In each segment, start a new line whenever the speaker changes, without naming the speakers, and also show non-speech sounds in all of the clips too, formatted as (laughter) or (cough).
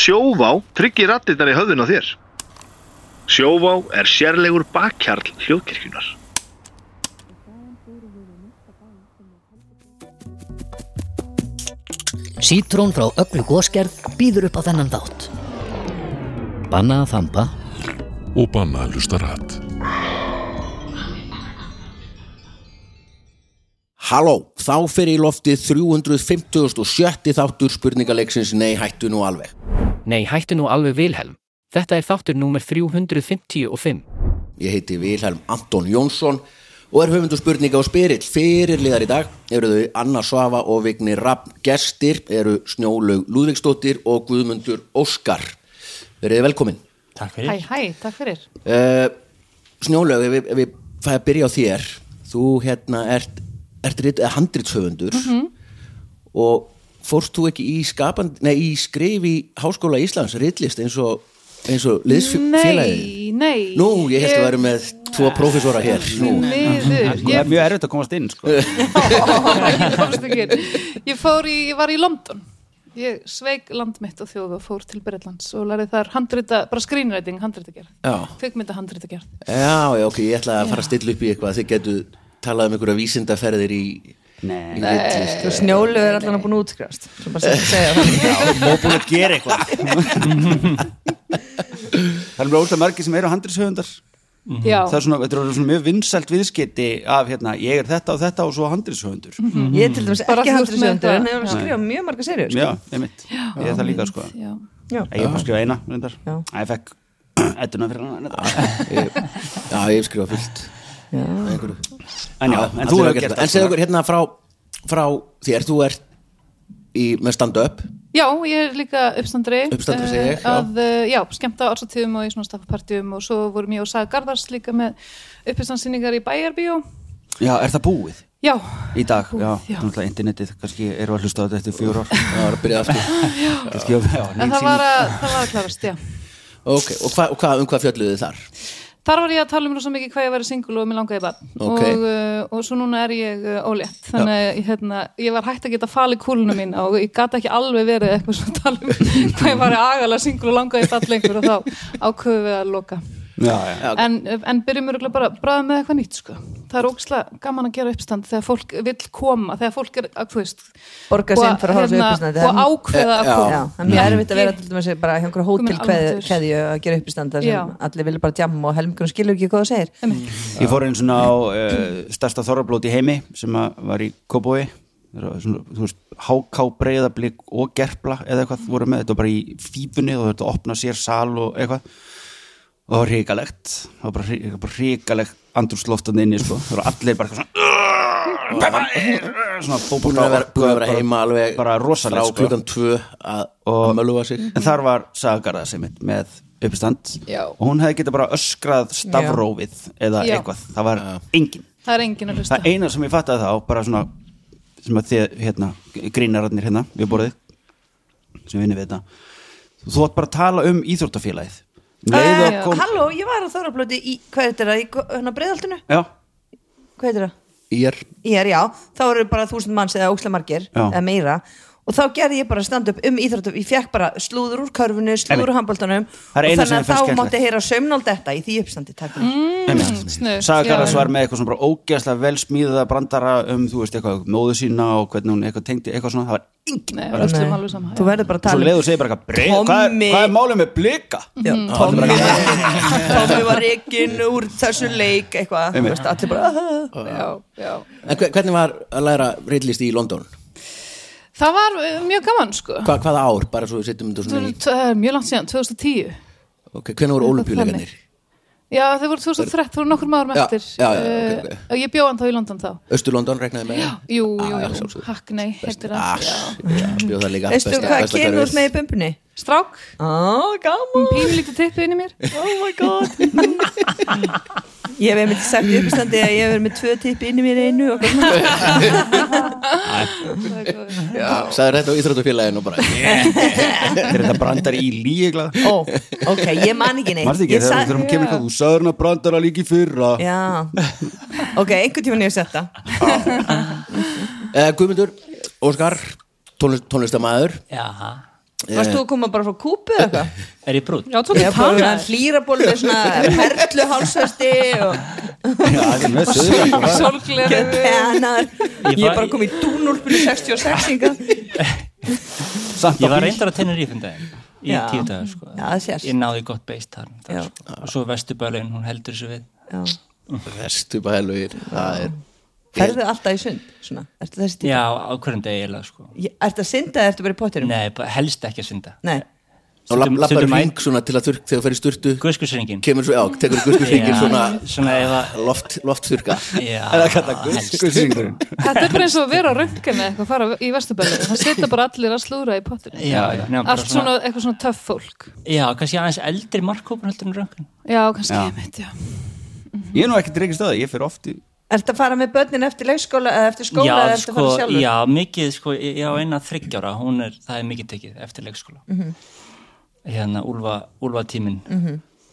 Sjóvá tryggir rattirnar í höfðun á þér. Sjóvá er sérlegur bakkjarl hljóðkirkjunar.
Sítrón frá öllu góskerð býður upp á þennan þátt. Banna að þampa
og banna að hlusta rætt.
Halló, þá fer í loftið 357. þáttur spurningaleiksins Nei, hættu nú alveg.
Nei, hættu nú alveg Vilhelm. Þetta er þáttur númer 355.
Ég heiti Vilhelm Anton Jónsson og er höfundu spurninga og spyrill. Fyrirliðar í dag eru þau Anna Svava og Vigni Rapp. Gestir eru Snjólaug Lúðvíksdóttir og Guðmundur Óskar. Verið velkomin.
Takk
Hæ,
fyrir.
hæ, takk fyrir.
Uh, Snjólaug, ef, við- ef við fæði að byrja á þér þú hérna ert, ert rit, eh, handritshöfundur og fórst þú ekki í, skapand, nei, í skrif í Háskóla Íslands ritlist eins og, eins og liðsfélagið
Nei, nei.
Nú, ég held að vera með tvo prófessora hér Nú.
Miður,
Sko, það er
ég,
mjög erfitt að komast inn, sko.
ég komst ekki inn. Ég fór í, ég var í London. Ég sveik land mitt og þjóð og fór til Breitlands og lærði þar handrita, bara screenwriting, handrita gerð.
Já.
Kvikmynda handrita gerð.
Já, já, ok, ég ætla að fara að stilla upp í eitthvað þið getu talað um einhverja vísindaferðir í, í
Nei,
ritlist
Þú snjólu er allan að búin að útskrifast sem bara sem segja
(laughs)
það
má búin að gera eitthvað. það er mjög óslega margir sem eru handrishöfundar.
Já,
Það er svona, þetta er svona mjög vinsælt viðskiti af hérna, ég er þetta og þetta og svo handrishöfundur.
Ég er til dæmis
Bara þú
ekki
ert
handrið
með
söndur
þetta.
en hefur hann skrifað mjög marga serjur
Já,
sko.
einmitt. Ég er það líka, sko.
já.
Já.
Ég er bara að skrifa eina, reyndar.
Já.
Æ, ég fekk (clears throat) ettuna fyrir hana. reyndar.
Ég- Já, ég hef skrifað fullt einhverju
En já, en
Allir
þú hefur
hafa gert
gert
það. En segðu okkur hérna frá, frá þér, þú ert í, með stand-up
já, ég er líka uppstandri.
Uppstandari,
eh,
segi ég, já.
Að, eh, já, skemmta ársatíðum og í svona staffapartíum og svo vorum ég og Saga Garðars líka með uppistansinningar í Bæjarbíó.
Já, er það búið?
Já,
Í dag, já,
já.
náttúrulega internetið, kannski eru að hlusta á þetta eftir fjóra ár,
Það var að
(laughs)
byrja aftur
kannski, já, já, ný
en það
sýning.
var að, það var að klarast, já.
Ok, og, hva, og hva, um hvað fjölluðu þið þar?
Þar var ég að tala um rosa mikið hvað ég væri singul og mér langaði bara
Ok.
og, uh, og svo núna er ég uh, ólétt þannig að ég, hérna, ég var hægt að geta falið kúluna mín og ég gata ekki alveg verið eitthvað svona að tala um (laughs) hvað ég væri agalega singul og langaði bara lengur og þá ákveðum við að loka
Já, já,
Já.
en, en byrjum við bara bráðum með eitthvað nýtt sko. það er ógislega gaman að gera uppstand þegar fólk vill koma þegar fólk er að þú veist
Borga
og, hérna,
sinn fyrir að hafa sig uppistandi, það er
og ákveða
Eh,
að
já.
Já,
koma
það er mjög erfitt að vera til dæmis bara hjá einhverju
Komin alveg til.
hótelkeðju að gera uppistanda sem
Já.
allir vilja bara djamma og helmingurinn skilur ekki hvað það segir
Ég fór einn svona á uh, stærsta þorrablót í heimi sem að var í Kóbói þú veist, háká breyðablík og gerpla eða eitthvað voru með þetta var bara í fífunni og þetta opna sér sal og eitthvað og það var hrikalegt það var bara, hri- bara hrikalegt andrúrsloftan inni sko. það voru allir bara eitthvað svona svona
Búin að vera,
fótbolta-
búin að vera heima alveg
bara sko. rosalega
frá klukkan tvö að, að möluga sig
en þar var Sagarða sem mitt með uppistand
Já.
og hún hefði getað bara öskrað stafrófið eða
Já.
eitthvað, það var engin
það er engin að hlusta
það eina sem ég fattaði þá, bara svona sem að þið, hérna, grínararnir hérna við borðið, sem vinni við þetta þú ætti bara að tala um íþróttafélagið Um leið
já.
og kom
Halló, ég var að þórablóti í, hvað er þetta, í gó- hérna breyðaltinu?
já,
Hvað er þetta?
Ég er
Ég er, já, þá eru bara þúsund manns eða ókslega margir,
Já.
eða meira og þá gerði ég bara stand up um íþróttum ég fekk bara slúður úr körfunu, slúður úr handbóltanum og
Það er eina sem
þannig að
mér finnst
þá
skemmtilegt.
mátti heyra saumnál þetta í því uppstandi, takk fyrir
Mm, Snöð,
Sagarðas var með eitthvað svona bara ógeðslega vel smíða brandara um, þú veist, eitthvað um móðu sína og hvernig hún eitthvað tengdi, eitthvað svona, það var engin
Nei, öllum alveg sama,
Þú
já.
verður bara að
svo
tala
leið og segir bara eitthvað, "Breið- hvað er,
um Tommi.
hvað er málið með
(laughs)
blika?
Já,
Mm.
Tommi Tommi var reygin úr þessu leik eitthvað, þú veist, allir bara "Ah."
Já, já.
En hve- hvernig var að læra reitlist í London?
Það var uh, mjög gaman sko
Hva, hvaða ár, bara svo við setjum þetta svona í
Það er eh, mjög langt síðan, 2010
okay, Hvernig voru
Eitthvað
ólumpjuleikarnir?
Já, þau voru 2013, þau voru nokkur maður með
Já,
eftir
já, já, ok, ok.
Eh, Ég bjóð hann þá í London þá
Östur London reknaði með
Jú,
Ah,
jú,
já,
jú,
sjálfsögðu.
Hackney heitir hann
Ass,
Já.
já, bjóð það líka
Veistu
besta-
hvað
besta
kemur
hverfið.
út með í bumbunni?
Strák,
Á, gaman
pínlítið tippi inn í mér
Oh my god Ég hef einmitt sagt í uppstandi að ég hef verið með tvö tippi inn í mér í einu og gaman
(laughs)
(laughs)
Það er góður.
Já, sagði þetta á íþróttafélaginu og bara
er þetta brandari í líeglað?
Ó, ok, ég man ekki neitt
Marstu ekki,
Ég
þegar
sa-
þú þurfum að kemur eitthvað, þú sagður hann að brandara líki fyrra
Já, ok, einhvern tímann ég hef sett það
Eh, Guðmundur, Óskar, tónlist, tónlistamæður
Já.
Varst þú að koma bara frá kúpu eða eitthvað?
Er ég brútt?
Já, tók
Ég
ég
var búin
tana
að hlýra ból
(laughs)
með svona perlu hálsasti og
Já, það er með söður
Sorglega
pennar
Ég
Ég er
var-
bara komið í dúnúlpunni 66 inga
Samt
Ég
á
var
bíl
reyndar að tenna rífum daginn í
Já.
tíu dagar sko.
Já, það sést.
ég náði gott beist þar
Já.
þar, sko. og svo vesturbælun, hún heldur þessu við
Vestu bælugir Það er
Ferðu alltaf í sund? Svona, ertu þessi tíma?
já, á hverjum degi eiginlega sko.
Ég- Ertu að synda eða ertu bara í pottinum?
nei, bara helst ekki að synda
Nei.
Og lapp-
Stundum-
lappar
stundum
hring svona til að þurrk þegar þú fer í sturtu
guðskursringin
Kemur svo, já, tekur guðskursringin svona
svona ef að
loft, loftþurka
já, helst.
Guðskursringurinn
Þetta er bara eins og að vera á röntgeni eitthvað fara í vesturbæli Það setja bara allir að slúra í pottinu
já, já, nema bara
Allt svona, eitthvað svona töff fólk
já, kannski aðeins eldri markkópur heldur en röngin
Já, kannski,
Já.
ég veit, já
Ég er nú ekkert reykist að það, ég fer oft í
Ertu að fara með börnin eftir leikskóla eða eftir skóla
já,
eða ertu að
sko,
fara sjálfur?
já, mikið sko, ég ég á eina þryggjára hún er, það er mikið tekið eftir leikskóla
Mhm.
hérna, úlfa, úlfa tímin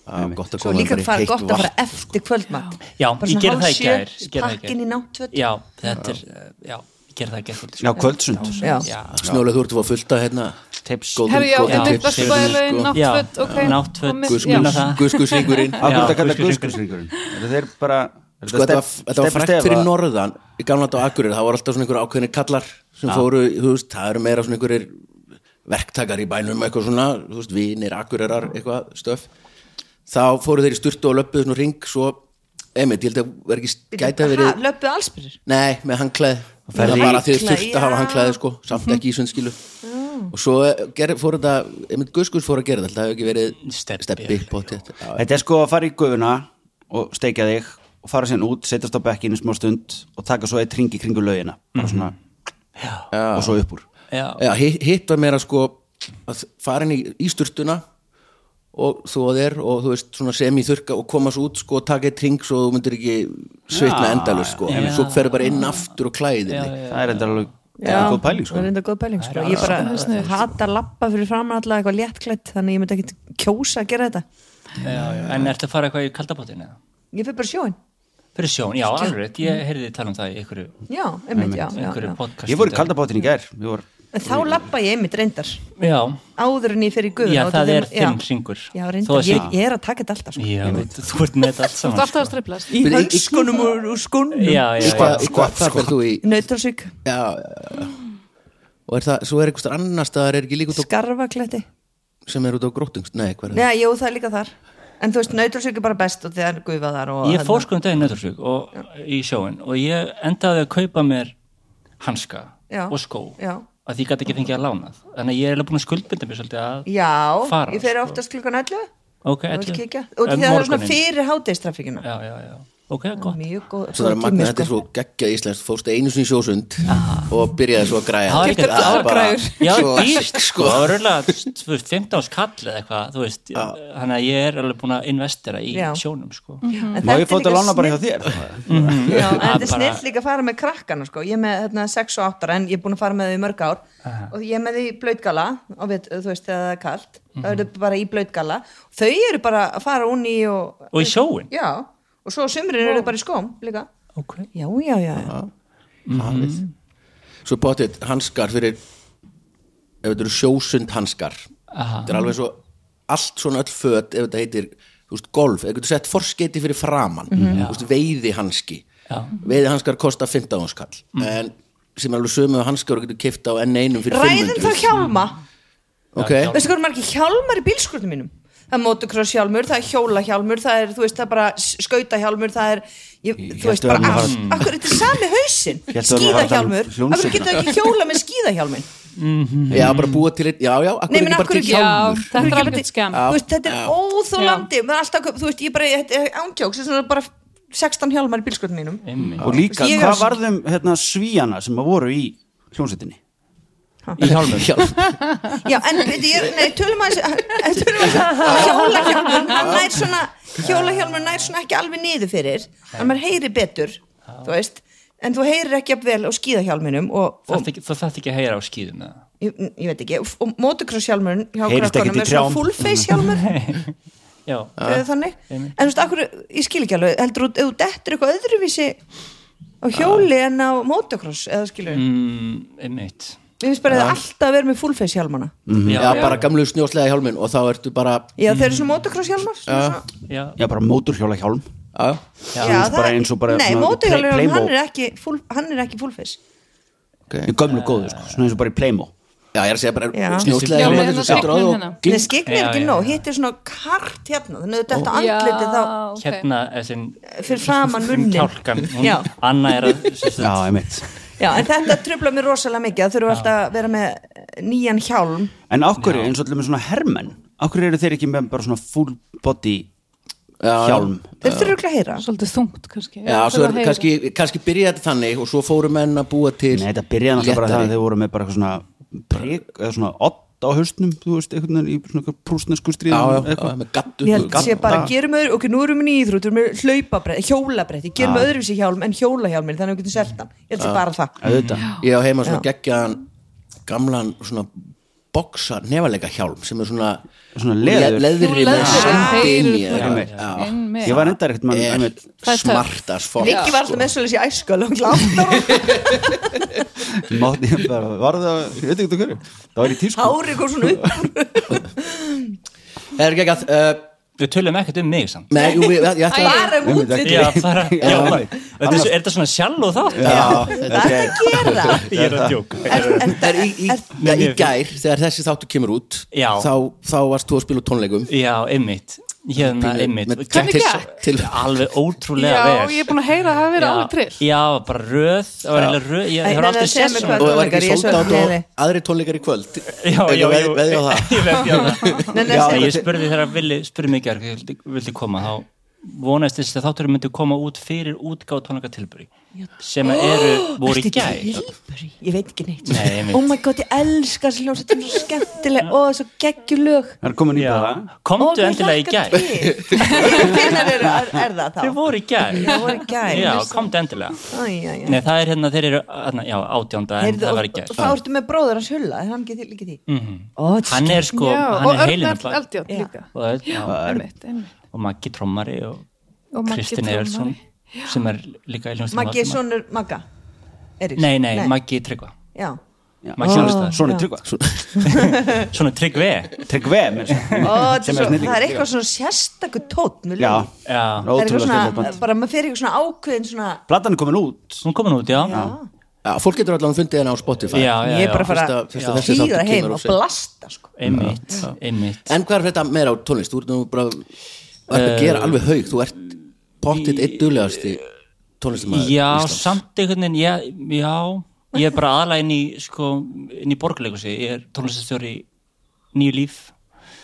Já, Gott að
Svo
koma
líka
bara í
fara
heitt
gott að fara
vatn.
eftir kvöldmatt
já,
Bara
ég
svona
gerði það
hálf
í
sjö,
gær ég gerði það í
pakkin
gær.
í náttföt
já, þetta er, uh, já, ég gerði það í gær
Já, kvöldsund
Já.
já,
Snjólaug, þú ert að fá fullt að hérna
Tips
Góð-
Herri, já,
góð-
þetta er
tips,
vesturbælin,
sko.
náttföt,
Já,
ok
náttföt,
komið,
guðs-
já.
Muna það.
Guðskursringurinn
Akkur
Já,
þetta kallar
guðskursringurinn.
guðskursringurinn Eru þeir bara er
Sko, þetta,
stepp-
þetta var
stepp-
frækt
stefa?
fyrir norðan í gamla þetta á Akureyri, það voru alltaf svona einhverja ákveðinir kallar sem fóru, þú veist, það eru meira svona einhverjir verktakar í bænum eitthvað svona, þú veist, vinir, Akureyrar eitthvað, stöf þá fóru þeir í sturtu og löppuðu svona ring svo, einmitt, ég held að vera ekki gæta verið,
Löppu allsbyrður
nei, með hangklæði það var bara því þeir þurft að hafa hangklæði sko, samt ekki í sundskilu og svo eh, ger, fóru þetta, einmitt Guðskurs fóru að gera þetta, það hefur ekki verið
Stebbi,
steppi, pottet
Þetta er sko að fara í gufuna og steikja þig og fara sérna út, setjast á bekkinu smá stund og taka svo eitt ringi kringu laugina bara svona og svo upp úr
já,
Já, hi- hitt var meira sko að farin í, í sturtuna og þú að þér og þú veist svona sem í þurka og koma svo út sko og taka eitt ring svo þú myndir ekki svitna
Já,
endalur sko
já.
svo ferðu bara inn aftur og klæðinni já,
Það er enda alveg það er góð pæling sko
það er enda góð pæling sko. Ég bara hata lappa fyrir framan alltaf eitthvað léttklætt þannig ég myndi ekki kjósa að gera þetta
já, já. en ertu að fara eitthvað í kaldabótinu eða?
Ég fyrir bara sjóin
fyrir sjón, já, alveg, ég heyrði þið tala um það í einhverju,
Já, einmitt, já, já,
einhverju
já.
podcast
Ég fór í kaldabátin í gær ég var,
En þá lappa ég einmitt reyndar
já,
áður en ég fyrir guðun
já, það er þinn ringur
Já,
Þó
reyndar,
að sé-
ég, ég er að taka þetta alltaf sko.
já, þú ert með þetta allt
Þú ert
saman sko.
alltaf að striplast
Í hönskunum og, og skunnum
já, já, sko.
Hva,
já,
hva, það fer þú í
Nautrásvík,
já, já, já. og er það, svo er eitthvað annar staðar er ekki líka út á,
skarfakletti
sem er út á grótungst nei, hvað er það?
Nei, jú, það er líka þar En þú veist, nautrásvík er bara best og þegar gufa þar og hérna.
ég
þarna.
fór sko um daginn nöðursug og í sjóin og ég endaði að kaupa mér hanska
Já.
og skó
Já.
að því ég gæti ekki fengið að lána þannig að ég er eiginlega búin að skuldbinda mér svolítið að
Já,
Fara,
ég fer
sko.
oftast klukkan 11
ok,
og vil
ætli-
kíkja og
en
því það er svona
morguninn.
fyrir hádegistraffíkina
já, já, já, ok, gott
mjög góð sko.
svo það er magna, þetta er svo geggjað íslenskt fórstu einu sinni í sjósund og byrjaði svo að græja
Það var ekkert-
er bara
græjur.
Já,
svo-
dýrt sko,
sko.
það var röglega 15 árs kall eða eitthvað, þú veist hann að ég er alveg búin að investera í
Já. Mhm.
sjónum sko.
en
Má ég fór
líka
þetta lána bara hjá þér?
snill- Já,
Að
en
bara-
þetta er snill líka að fara með krakkana sko. ég er með hérna, 6 og 8 en ég er búin að fara með þau í mörg ár og ég er með þau í blöytgala og við, þú veist þegar það er kalt
Mhm.
þá eru þau bara í blöytgala þau eru bara að fara unni og,
og í sjóin
já, og svo á sumrin eru þau bara í skóm líka
okay.
já, já, já, já.
Mhm. Svo bóttið hanskar fyrir ef þetta eru sjósund hanskar þetta er alveg svo allt svona öll föt ef þetta heitir þú veist, golf, ef þetta sett forskeiti fyrir framann þú veist, veiði hanski veiði hanskar kosta 15 hanskall en sem er alveg sömu hanskar og getur kipta á enn einum fyrir
ræðum
500
þá hjálma
okay.
veistu hvað er margir hjálmar í bílskurðum mínum það er motocross hjálmur, það er hjóla hjálmur það er, þú veist, það er bara skauta hjálmur það er, ég,
Ég
þú veist,
hélt við
bara
varum að
allt
fara-
akkur, þetta er sami hausin,
Ég hélt við varum að fara að tala um
skíðahjálmur akkur
hljómsveitina.
getur það ekki hjóla með skíðahjálmin
Já, bara búa til eitt, já, já, akkur
Nei, menn,
ekki bara
akkur
til
ekki-
hjálmur (laughs)
Já, þetta er alveg skam
þú veist, þetta er óþólandi maður er alltaf, þú veist, ég bara, þetta er ándjóks þetta er bara 16 hjálmar í bílskurðum mínum
Og líka,
Ég er
hvað
svo-
varðum hérna, svíjana sem að voru í hljónsettinni?
í
(laughs)
hjálmum
já, en, veitu, ég, nei, tölum að tölum að hjóla hjálmur hann nær svona, hjóla hjálmur nær svona ekki alveg niður fyrir, en maður heyri betur þú veist, en þú heyrir ekki jafn vel á skíðahjálminum og, og
það þetta ekki að heyra á skýðum eða?
ég, ég veit ekki, og motocross hjálmurinn hjá
Heyrist ekkert
krakkanum
í
er svona
trjám.
full face hjálmur
já,
eða þannig, en þú veist, akkur ég skil ekki alveg, heldur þú, ef þú dettur eitthvað öðruvísi á hjóli en á motocross, eða skilur,
mm, einmitt
Mér finnst bara að alltaf að vera með full face hjálmana
já,
Já, bara gamlu snjóslega hjálmin og þá ertu bara
Já, þeir eru svona motocross hjálmar svona, svona.
já,
Já, bara móturhjóla hjálm
Já,
Já,
eins og
það
bara-
er-
eins og bara
Nei,
svona Play-
mótorhjálmurinn, hann
Playmo.
er ekki full, hann er ekki full face
Í gömlu góðu, sko, svona eins og bara í Playmo
já ég er að segja
Já.
bara snjóslega
Já,
hjálmin
með
sem þú
þennan
setur á þú
skyggnum
og
hérna.
Nei,
gling
skikni er
Já,
ekki
já.
nóg, hitt er svona kart hérna Þannig að þetta
Já,
andliti þá
ok.
hérna þessin,
Fyrir framan munnin.
kjálkan, hún,
(laughs) Já.
Anna er að sérst,
Já, einmitt
Já, en þetta trubla mér rosalega mikið Það þurfum alltaf að vera með eh, nýjan hjálm
En ákvörðu, eins og allir með svona hermenn Ákvörðu eru þeir ekki með bara svona full body hjálm
Þeir þurfum ekki að heyra
svolítið þungt kannski
Já,
Ég
svo er,
þarf að heyra.
kannski, kannski byrjaði þetta þannig og svo fóru menn að búa til
Nei, þetta byrjaði náttúrulega bara
léttari.
það að þeir voru með bara eitthvað svona prik, eða svona odd á hausnum, þú veist, einhvern veginn í svona prúsnesku
Já, já,
stríðum
já, með gattu
Ég held
gattu-
sé bara, gerum öðru, ok, nú erum við nýþrútur með hlaupabretti, hjólabretti, gerum við öðruvísi hjálm en hjólahjálmin, þannig að við getum seltan Ég held sé bara það
Auðvitað,
Ég á heima svona geggjaðan gamlan svona boksa nefalega hjálm sem er svona
Svona leður.
leðri með
Leður.
sendi inn í
Já,
það.
einmitt.
Já.
Einmitt.
ég var enda ekkert mann
Er
einmitt,
Það er töff.
smart as fuck
Viki var alltaf með svolítið í æskölu og glátt
mátti ég bara, var það, ég veit ekki hverju það var í tísku
Hári kom svona upp
Er ekki að uh,
við tölum ekkert um mig samt
Nei, jú, við- ég ætla að
Bara um
Einmitt,
útliti
já, bara, já, bara, er, þetta svo, er þetta svona sjálf og þátt
Hvað er það að gera?
ég er að djóka
Er, er,
Það er í, í,
er,
er, í gær, þegar þessi þáttu kemur út
Já.
þá, þá varst þú að spila út tónleikum
já, einmitt, hérna,
Pínu-
einmitt
með-
Gekk
Hvernig
svo-
gekk? Til-
alveg ótrúlega
Já,
vel
ég er búin að heyra að það hafi verið
Já,
alveg trill
já, bara röð, það var eiginlega röð ég,
Nei,
ég
nei,
har aldrei
nei, segðu
séð
mér
svona
hvað-
og það var
Tónleikar,
ekki
ég
sold
svo-
át
Nei,
og
nei.
aðri tónleikar í kvöld
já, já,
veð,
já.
veðja á það
(laughs) ég veðja á það
Nei, sko- nei,
Já,
segðu-
ég spurði þegar Vili spurði mig gerð vildi, vildi koma, þá vonaðist þess að þátturum myndi koma út fyrir útgáð tónleika tilbúri sem að eru, voru í
(gasps) Ertu
gæð
Tilbury? Ég veit ekki neitt
Nei, einmitt.
Oh my god, ég elska þessi hljómsveit Þetta er svo skemmtileg og svo geggjulög
það er komin í bara
komdu endilega í gæð
Hvernig er, er, er það
þau
þá?
voru í gæð
Þau voru í gær,
já,
veist.
komdu endilega
Æ, já, já.
Nei, það er hérna, þeir eru, hérna, já, átjánda en
Heyrðu,
það
og-
var í
og
gæð
Þá ertu með bróður hans hulla Er hann ekki til- líka því? Ó, þetta
hann er sko,
Já,
hann
og
er
Örn
heilin
Erl Eldjátt
Já.
líka
og, Örn, já,
Einmitt, einmitt.
og Maggi Trommari og,
Og Maggi
Kristinn
Trommari.
Evertsson sem er líka í hljómsveitinni
Maggi
Valdimar.
er sonur Magga Eiríks.
Nei, nei, Maggi Tryggva
Já,
Maggi
Svona-
Hjálmstad,
svona tryggva,
svona Tryggve
tryggve með
Ó, þetta
Sem
er
er
svo-
snillingur.
það er eitthvað svona sérstakur tótt
já,
Já.
það er ótrúlega skemmtilegt band.
Bara maður fer eitthvað svona ákveðin svona
platan er komin út
hún er komin út, já
Já, fólk getur allan fundið henni á Spotify
já, já,
Ég er
já,
bara að fara
Fyrsta- fyrsta
að
þessi
hýra
þáttur
heim
kemur
og
og
blasta sko.
einmitt, einmitt
En hvað er þetta meira á tónlist? Þú ert nú bara þú ert að gera
Eh,
alveg haug Þú ert pottitt eitt duglegasti tónlistamæður
já, samt einhvern veginn já, já, ég er bara aðalega inn í sko, inn í borgarleikusi ég er tónlistastjóri í nýju líf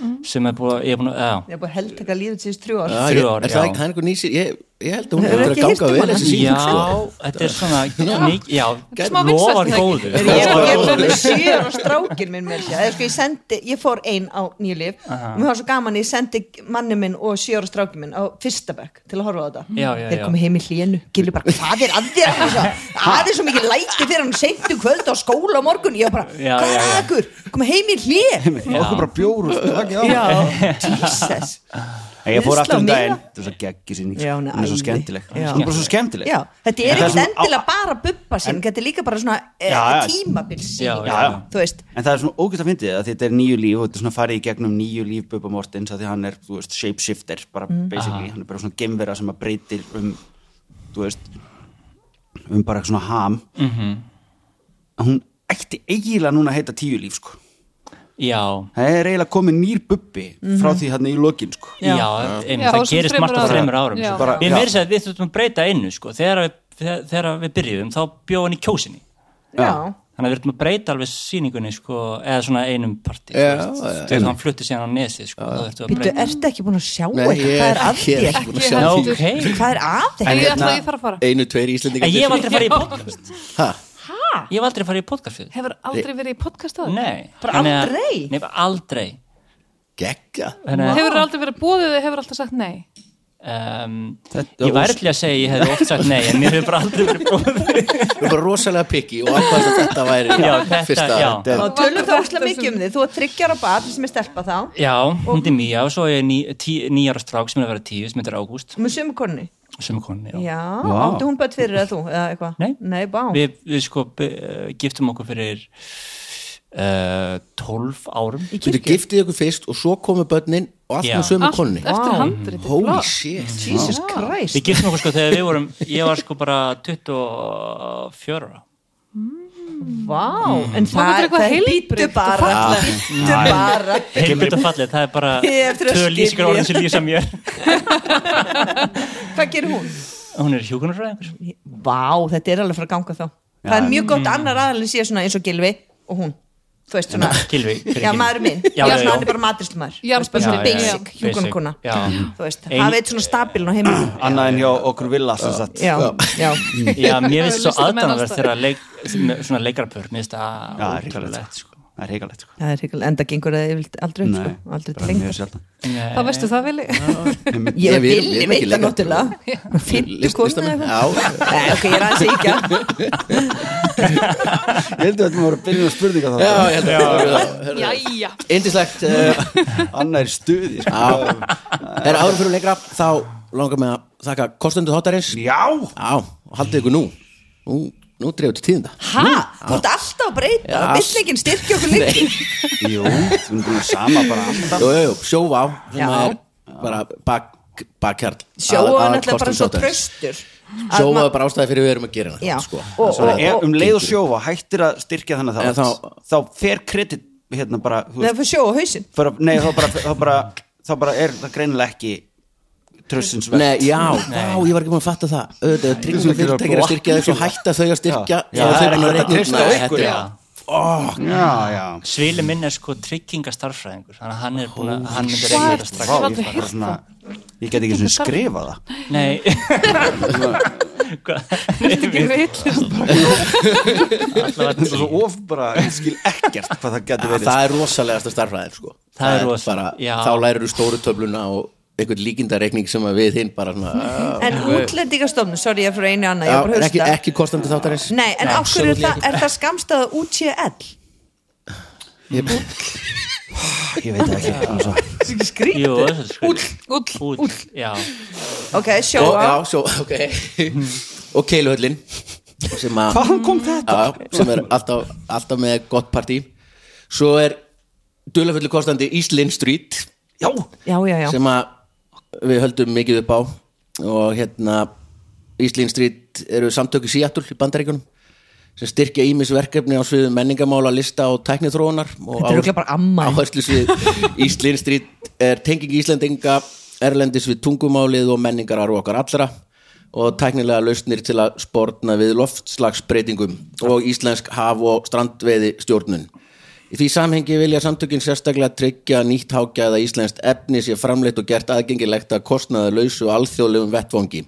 Mm.
sem er búið, að- ég er búin að já,
Ég er bara held taka lífið síðust þrjú ár
Já, ég,
þrjú ár,
er það
já.
ekki, það er einhver nýsir ég, ég held að hún
Hefur
hefur verið
ekki
að
hýrt um
ganga vel
hana?
þessi síðan
já, þetta er svona mik- já,
Smá
lofar
vinsælt,
góðu
Er
(laughs)
Ég ég er bara með sjö ára strákin minn með sér sko, ég, sendi, ég fór ein á nýlif og mér var svo gaman ég sendi manni minn og sjö ára strákin minn á fyrsta bekk til að horfa á þetta
Já, já,
Þeir
já.
komu heim í hlíinu, gilur bara hvað er að þér Annars að- Það er svo mikið læti fyrir hann seintu kvöld á skóla á morgun Ég var bara,
Já,
hvað
já,
er
já.
að ykkur? Komu heim í hlín
okkur bara bjór og
(laughs)
stakki á
Já, Jesus
Nei, ég fór
Viðsla
aftur um
mína.
daginn þetta er svo geggi sinni
Já,
hún
hún er
er svo
æði.
skemmtileg hún
Já.
er bara svo skemmtileg
Já, þetta
En
er
það
ekkert
svona á-
endilega bara bubba sinn, þetta er líka bara svona e,
Já, já.
Já,
tímabilsýning,
já.
þú veist
En það er svona ógæst að fyndið það, því þetta er nýju líf og þetta er svona farið í gegnum nýju líf Bubba Mortens að því hann er, þú veist, shapeshifter bara
Mm.
basically, hann er bara svona gemvera sem að breytir um, þú veist um bara svona ham mm -hmm. hún ætti eiginlega núna að heita tíu líf, sko
já,
það er eiginlega komið nýr Bubbi
Mhm.
frá því hann í lokin, sko
já, einmitt,
Já,
það
svona
gerist
þremur
margt á
árum.
þreymur árum
Já.
svo
Bara-
bara- ég
já.
meiri sér að við þurfum að breyta einu sko, þegar við, þegar- þegar við byrjuðum þá bjóð hann í kjósinni
Já,
þannig að við ertum að breyta alveg síningunni sko, eða svona einum
Já,
partí þú veist.
já,
þegar hann flutti síðan á nesi sko, þá ertu að
býttu,
breyta
ertu ekki búin að sjá
Nei,
þetta,
ég
hvað er að
ég
þér?
ekki búin að
Ekki
sjá
heldur.
því.
ok, en
Hvað er að þér?
Ég ætla
hérna-
að ég þarf að fara
Einu, tveir íslendingar
ég hef aldrei farið í podcast
Ha?
ég hef aldrei farið í podcast fyrir
Hefur aldrei verið í podcast áður?
nei,
Bara
Þannig að-
aldrei?
nei, bara aldrei
Gegga
Þannig að,
Hefur aldrei verið bóðið eða hefur alltaf sagt nei?
um,
Þetta
ég væri til að segja að ég hefði oft sagt nei en mér hefur bara aldrei verið bróðið
Þú er bara rosalega pikki og ákvæmst að þetta væri
Já, þetta,
fyrsta
já.
þetta er-
Þá tölum
Þetta
það óslega mikið um þig, þú er þryggjar á barn sem er stelpa þá,
já, hún er mía og svo er ég ný, tí, nýjara strák sem er að vera tíu sem heitir Ágúst
með sömu konni
sem er konni, já,
Já, áttu hún bætt fyrir eða þú, eða eitthvað
Nei.
bá
Við, við sko be, giftum okkur eh, fyrir uh, 12 árum
Í
Getur
kirkju?
giftið ykkur fyrst og svo komu börnin og allt
Já.
með sömu konni
eftir handriti
Holy shit
Jesus Christ
Við gistum okkur sko þegar við vorum Ég var sko bara 24 ára.
Vá, en
Þá getur eitthvað heilbrigt
Býttu
og
bara, býttu bara (laughs)
Heimlut og fallið, það er bara
Ég er eftir að
Tvö lýsingar
skilja.
orðin sem lýsa mér
Hvað gerir hún?
Hún er hjúkunarfræðingur
Vá, þetta er alveg frá ganga þá Það er mjög gott annar aðalinn sé svona eins og Gilvi og hún, þú veist svona
Gilvi, hver er
Já,
Gylfi?
maður minn,
Já,
já,
já, já.
svona hann er bara matristumar
Jarðspennandi, já.
basic,
Basic,
hjúkunkona
já.
Þú veist,
Ein-
hafa eitt svona stabiln á heimilinu
annað en hjá okkur villa sem sagt
Já, já
Já, mér
(laughs)
finnst svo
Listamenn
aðdánarverð
alltaf.
þegar leik, með svona leikarapör Mér finnst það
Já, það er
ótrúlegt
hrikalegt
sko.
það er hrigalegt sko.
Það er hrigal, enda gengur það yfirleitt aldrei upp,
Nei,
sko, aldrei
bara
til lengdar
mjög sjaldan.
sko.
þá veistu það veli
Ég
Nei,
og
við erum- við
Billy
erum
veit
ekki
það
lengur.
náttúrulega Fyndu konu
Listamenn.
eða eitthvað Nei, ok, ég er aðeins ekki að
ég held að þetta voru að byrja að spurninga
Já,
þá
hérna, hérna,
(laughs) Jæja,
Indislegt uh,
annað er stuði sko.
Er áður fyrir lengra þá langar mig að þakka kostendur þáttarins Já,
já,
og haldið ykkur nú Nú, nú drefur til tíðinda
Hæ? Þú ert alltaf að breyta,
Já.
villingin styrkja okkur líki
jú, þú erum búin að sama bara alltaf
Jú, jú, jú, sjóvá sem
Já.
er bara bak, bakkjarl
Sjóa er náttúrulega bara svo tröstur að
Sjóvá
ma-
er bara ástæði fyrir við erum að gera
Já,
hana sko.
og- og-
Svona, ef, um leið og
gengur.
sjófa hættir að styrkja þannig
En
að þá,
þá-
þá fer kredit hérna bara, þú
Nei,
veist,
það fyrir sjóa á hausinn
bara nei, þá bara, þá bara þá bara er það greinilega ekki trössins verð
Nei, já, já, ég var ekki búin að fatta það Auðvitað, tryggum fyrirtækir að styrkja þau svo hætta þau að styrkja
Já, það er ekki hægt að treysta á ykkur
já.
já, já
Svili minn er sko tryggingastarfræðingur Þannig að hann er búin að Hann myndi
What?
reyna þetta
Vá,
strax
Hvað?
ég,
aldrei
bara svona, ég get ekki svona skrifa það
(laughs)
Nei Hvað?
ekki vill
það er svo of bara, ég skil ekkert hvað það getur verið
Það er rosalegasta starfræðin sko.
Það er rosa-
bara-
já.
Þá lærir þú stóru töfluna og einhvern líkindareikning sem að við hinn bara svona,
Mhm.
En útlendingastofnun, sorry, ég er frá einu annað,
já,
ég er bara að
ekki,
hausta
ekki kostandi þáttarins
Nei, en af hverju er
absolutely
það, er það skamstaða UCL?
ég veit það ekki alveg svo.
Jú, það er sko
úll,
Úl, já
Ok,
og,
sjóa
já, svo, (laughs) ok og keiluhöllin sem, a,
hvaðan kom þetta?
a, sem er alltaf, alltaf með gott partí svo er duðlefullu kostandi Íslinn Street
já,
Já, já, já
sem að við höldum mikið upp á og hérna Íslinn Street eru samtöku Seattle í bandaríkunum sem styrkja ímisverkefni á sviðu menningamála, lista og tæknithróunar og
Þetta er örugglega bara ammæli.
áherslu svið
(laughs)
Íslinn Street er tenging Íslendinga erlendis við tungumálið og menningarar okkar allra og tæknilega lausnir til að sportna við loftslagsbreytingum og íslensk haf- og strandveiði stjórnun. Í því samhengi vilja samtökin sérstaklega tryggja nýtt hágæða íslenskt efni sé framleitt og gert aðgengilegt að kostnaða lausu alþjóðlegum vettvangi.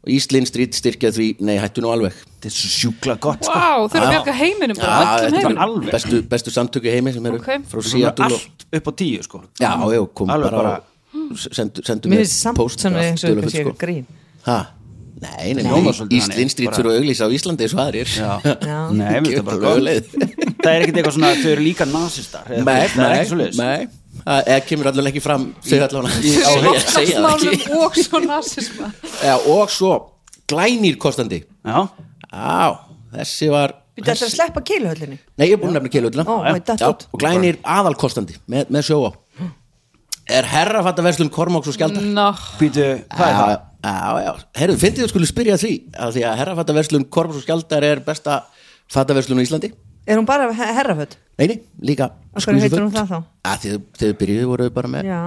Og Íslinn strýtt styrkja því, nei hættu nú alveg.
þetta er svo sjúkla gott sko.
vá, þau eru að bjarga heiminum bara,
Já,
öllum
þetta
heiminum
eru
alveg.
bestu, bestu samtöku í heimi sem eru
Ok.
frá
Svo er
Seattle og...
allt upp á tíu sko
Já, já, kom
Alveg
bara, bara
bara-
og s- sendu, sendu
Mér finnst samt
póst
sem
og allt
eins og
dularfullt,
þetta sé
sko.
eitthvað grín
Ha? Nei, nei,
Hljómar
nei.
svolítið
Íslinn
þannig,
strýtt
bara-
fyrir að auglýsa á Íslandi eins og aðrir.
Já.
Nei, mér finnst það bara
Gjörðu
gott.
leið.
Það er ekkert eitthvað svona að þau eru líka nazistar eða
Nei,
eitthvað, það er
nei,
ekki svo leiðis
nei Það eða kemur allavega ekki fram segir allavega á því að segja það ekki.
loftslagsmálum og svo nasisma
Já, og svo glænýr kostandi
Já,
á, þessi var
Býttu þetta að sleppa keiluhöllinni?
nei, ég er búin að nefna keiluhöllina
Ó, ó, þetta
Já,
út.
og glænýr aðalkostandi með, með sjóa er herrafatta verslun Kormáks og Skjaldar
Mm,
Ná,
býtu, hvað er það?
Já, já, já, herru, fyndið þú skulle spyrja því að því að herrafatta verslun Kormáks og Skjaldar er besta fattaverslun á Íslandi
Er hún bara he- herraföt?
neini, líka
Af hverju heitir hún
skvísuföt.
það þá?
Að því að þegar byrjuðu voru þau bara með
Já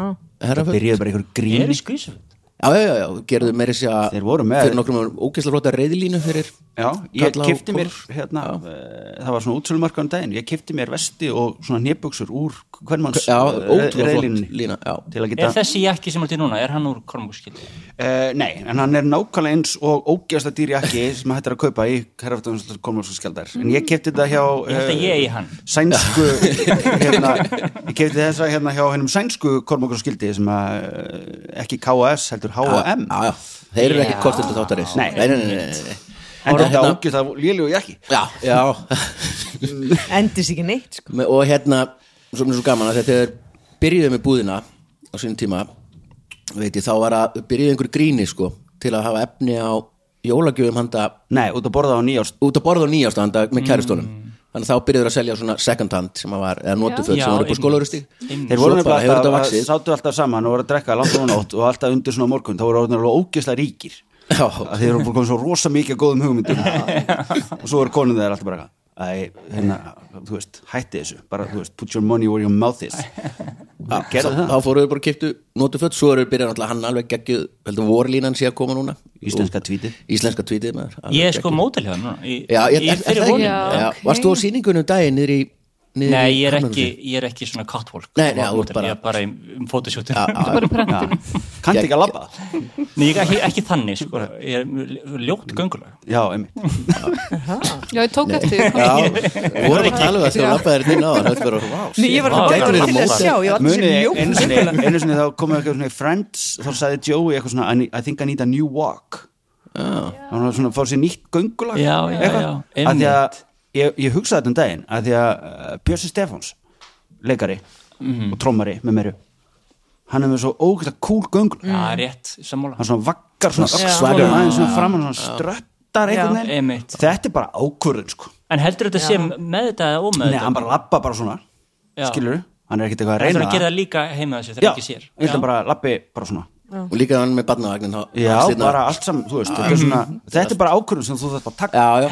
herraföt
Byrjuðu bara einhver grín
Er í skvísum
Já, já, já, já, gerðu meiri sér að
Þeir voru með.
fyrir nokkrum árum ógeðslega flotta reyðilínu fyrir
Já, ég
kalla á
kipti mér
konur.
hérna, eh, það var svona útsölumarka um daginn ég kipti mér vesti og svona nýbuksur úr hvernmanns
Já,
eh,
ótrúlega
reiðlínunni.
flott lína, já.
til að geta,
Er þessi jakki sem allt í núna, er hann úr kormúskildi?
Eh, nei, en hann er nákvæmlega eins og ógeðasta dýrjakki sem hættir að kaupa í herrafdóðum komlófsskjaldar, en ég kipti þetta hjá
Ég held að
eh,
ég eigi hann.
sænsku
(laughs)
hérna, ég kefti þessa hérna hjá hennum sænsku kormokur skildi sem að eh, ekki KS heldur H&M
Já, já, þeir eru ekki
Já.
kostendur þáttarins
Nei.
nei, nei, nei, nei, nei.
en
Og
þetta
hérna-
ágjöð það lélu og jakki
Já, já
Endist ekki neitt sko.
Me- (laughs) Og hérna, svo mér er svo gaman að þegar þeir byrjuðu með búðina á sínum tíma veit ég, þá var að byrjuðu einhver gríni sko til að hafa efni á jólagjöfum handa
nei, út að borða á nýjást Mm.
út að borða á nýjásta handa með kæristónum þannig að þá byrjuður að selja svona second hand sem að var, eða notu föt
Já.
sem var upp á
Já,
skólaurustík
einmitt.
Þeir voru
Mm. Svo
nefnilega
bara hefur þetta
alltaf,
vaxið
sátu alltaf saman og voru að drekka langt og nótt og alltaf undir svona morgun, þá voru orðin alveg ógjöslega ríkir
Já.
að þeir voru búin að koma svo rosa mikið að góðum hugmyndum og svo voru konun þeir alltaf bara Æ, hérna, þú veist, hætti þessu bara, þú veist, put your money where your mouth is
Já,
gerðu
þá-
það.
þá fóruðu bara að kiptu notu föt svo eru byrjað náttúrulega hann alveg geggjuð heldur vorlínan sé að koma núna
Íslenska tweetið
Og- Íslenska tvítið maður alveg
Ég er sko
geggjuð.
mótel hjá hann núna, í,
Já, ég,
í
er, er,
fyrir
er,
vonum.
er,
Já,
já,
ok.
Varst þú á sýningunum daginn niður í niður
Nei,
í
ég er, ekki,
Hafnarhúsi?
ég er ekki svona catwalk
Nei, nei,
á
þú ert
mótel,
bara-
Ég er bara í um fótusjóttum (laughs)
bara í prentinu
Kanti ekki að labba
Nei, ég er ekki, ekki þannig sko. Ég er mjög ljótt göngulag
Já, einmitt
já, ég tók eftir ég kom-
Já, við vorum að tala um það þegar lappaðir inn á hann Þetta var wow,
Nei, ég var
Vá,
að
það
gæta
er
til að
móta.
sjá, ég var alltaf
Muni,
sem ljók
einu sinni, einu sinni þá komið eitthvað svona í Friends þá sagði Joey eitthvað svona "I need- I think I need a new walk
Já,
hann var svona að fá sér nýtt göngulag
Já, já, já,
að því að
einmitt.
ég, ég hugsaði þetta um daginn að því að uh, Björsi Stefáns leikari
Mhm.
og trommari með méru hann er með svo ógæta cool göngulag
Já, rétt, sammála
hann svona vaggar svona
Svona
öxlunum
sværum.
aðeins svona fram og svona ströttar einhvern
Já,
veginn
einmitt.
þetta er bara ákvörðun sko
En heldur þetta sé með þetta eða ómeð
Nei, hann bara lappa bara svona
Já.
skilur hann er ekkert eitthvað að
Það er
reyna
að gera það líka heima þessu, það
Já,
er ekki sér
ég held að bara lappi bara svona
og líka hann með barnavagnin þá-
Já,
hann stirnar-
bara allt saman, þú veist, þetta er svona þetta er bara ákvörðun sem þú þarf að taka
Já, já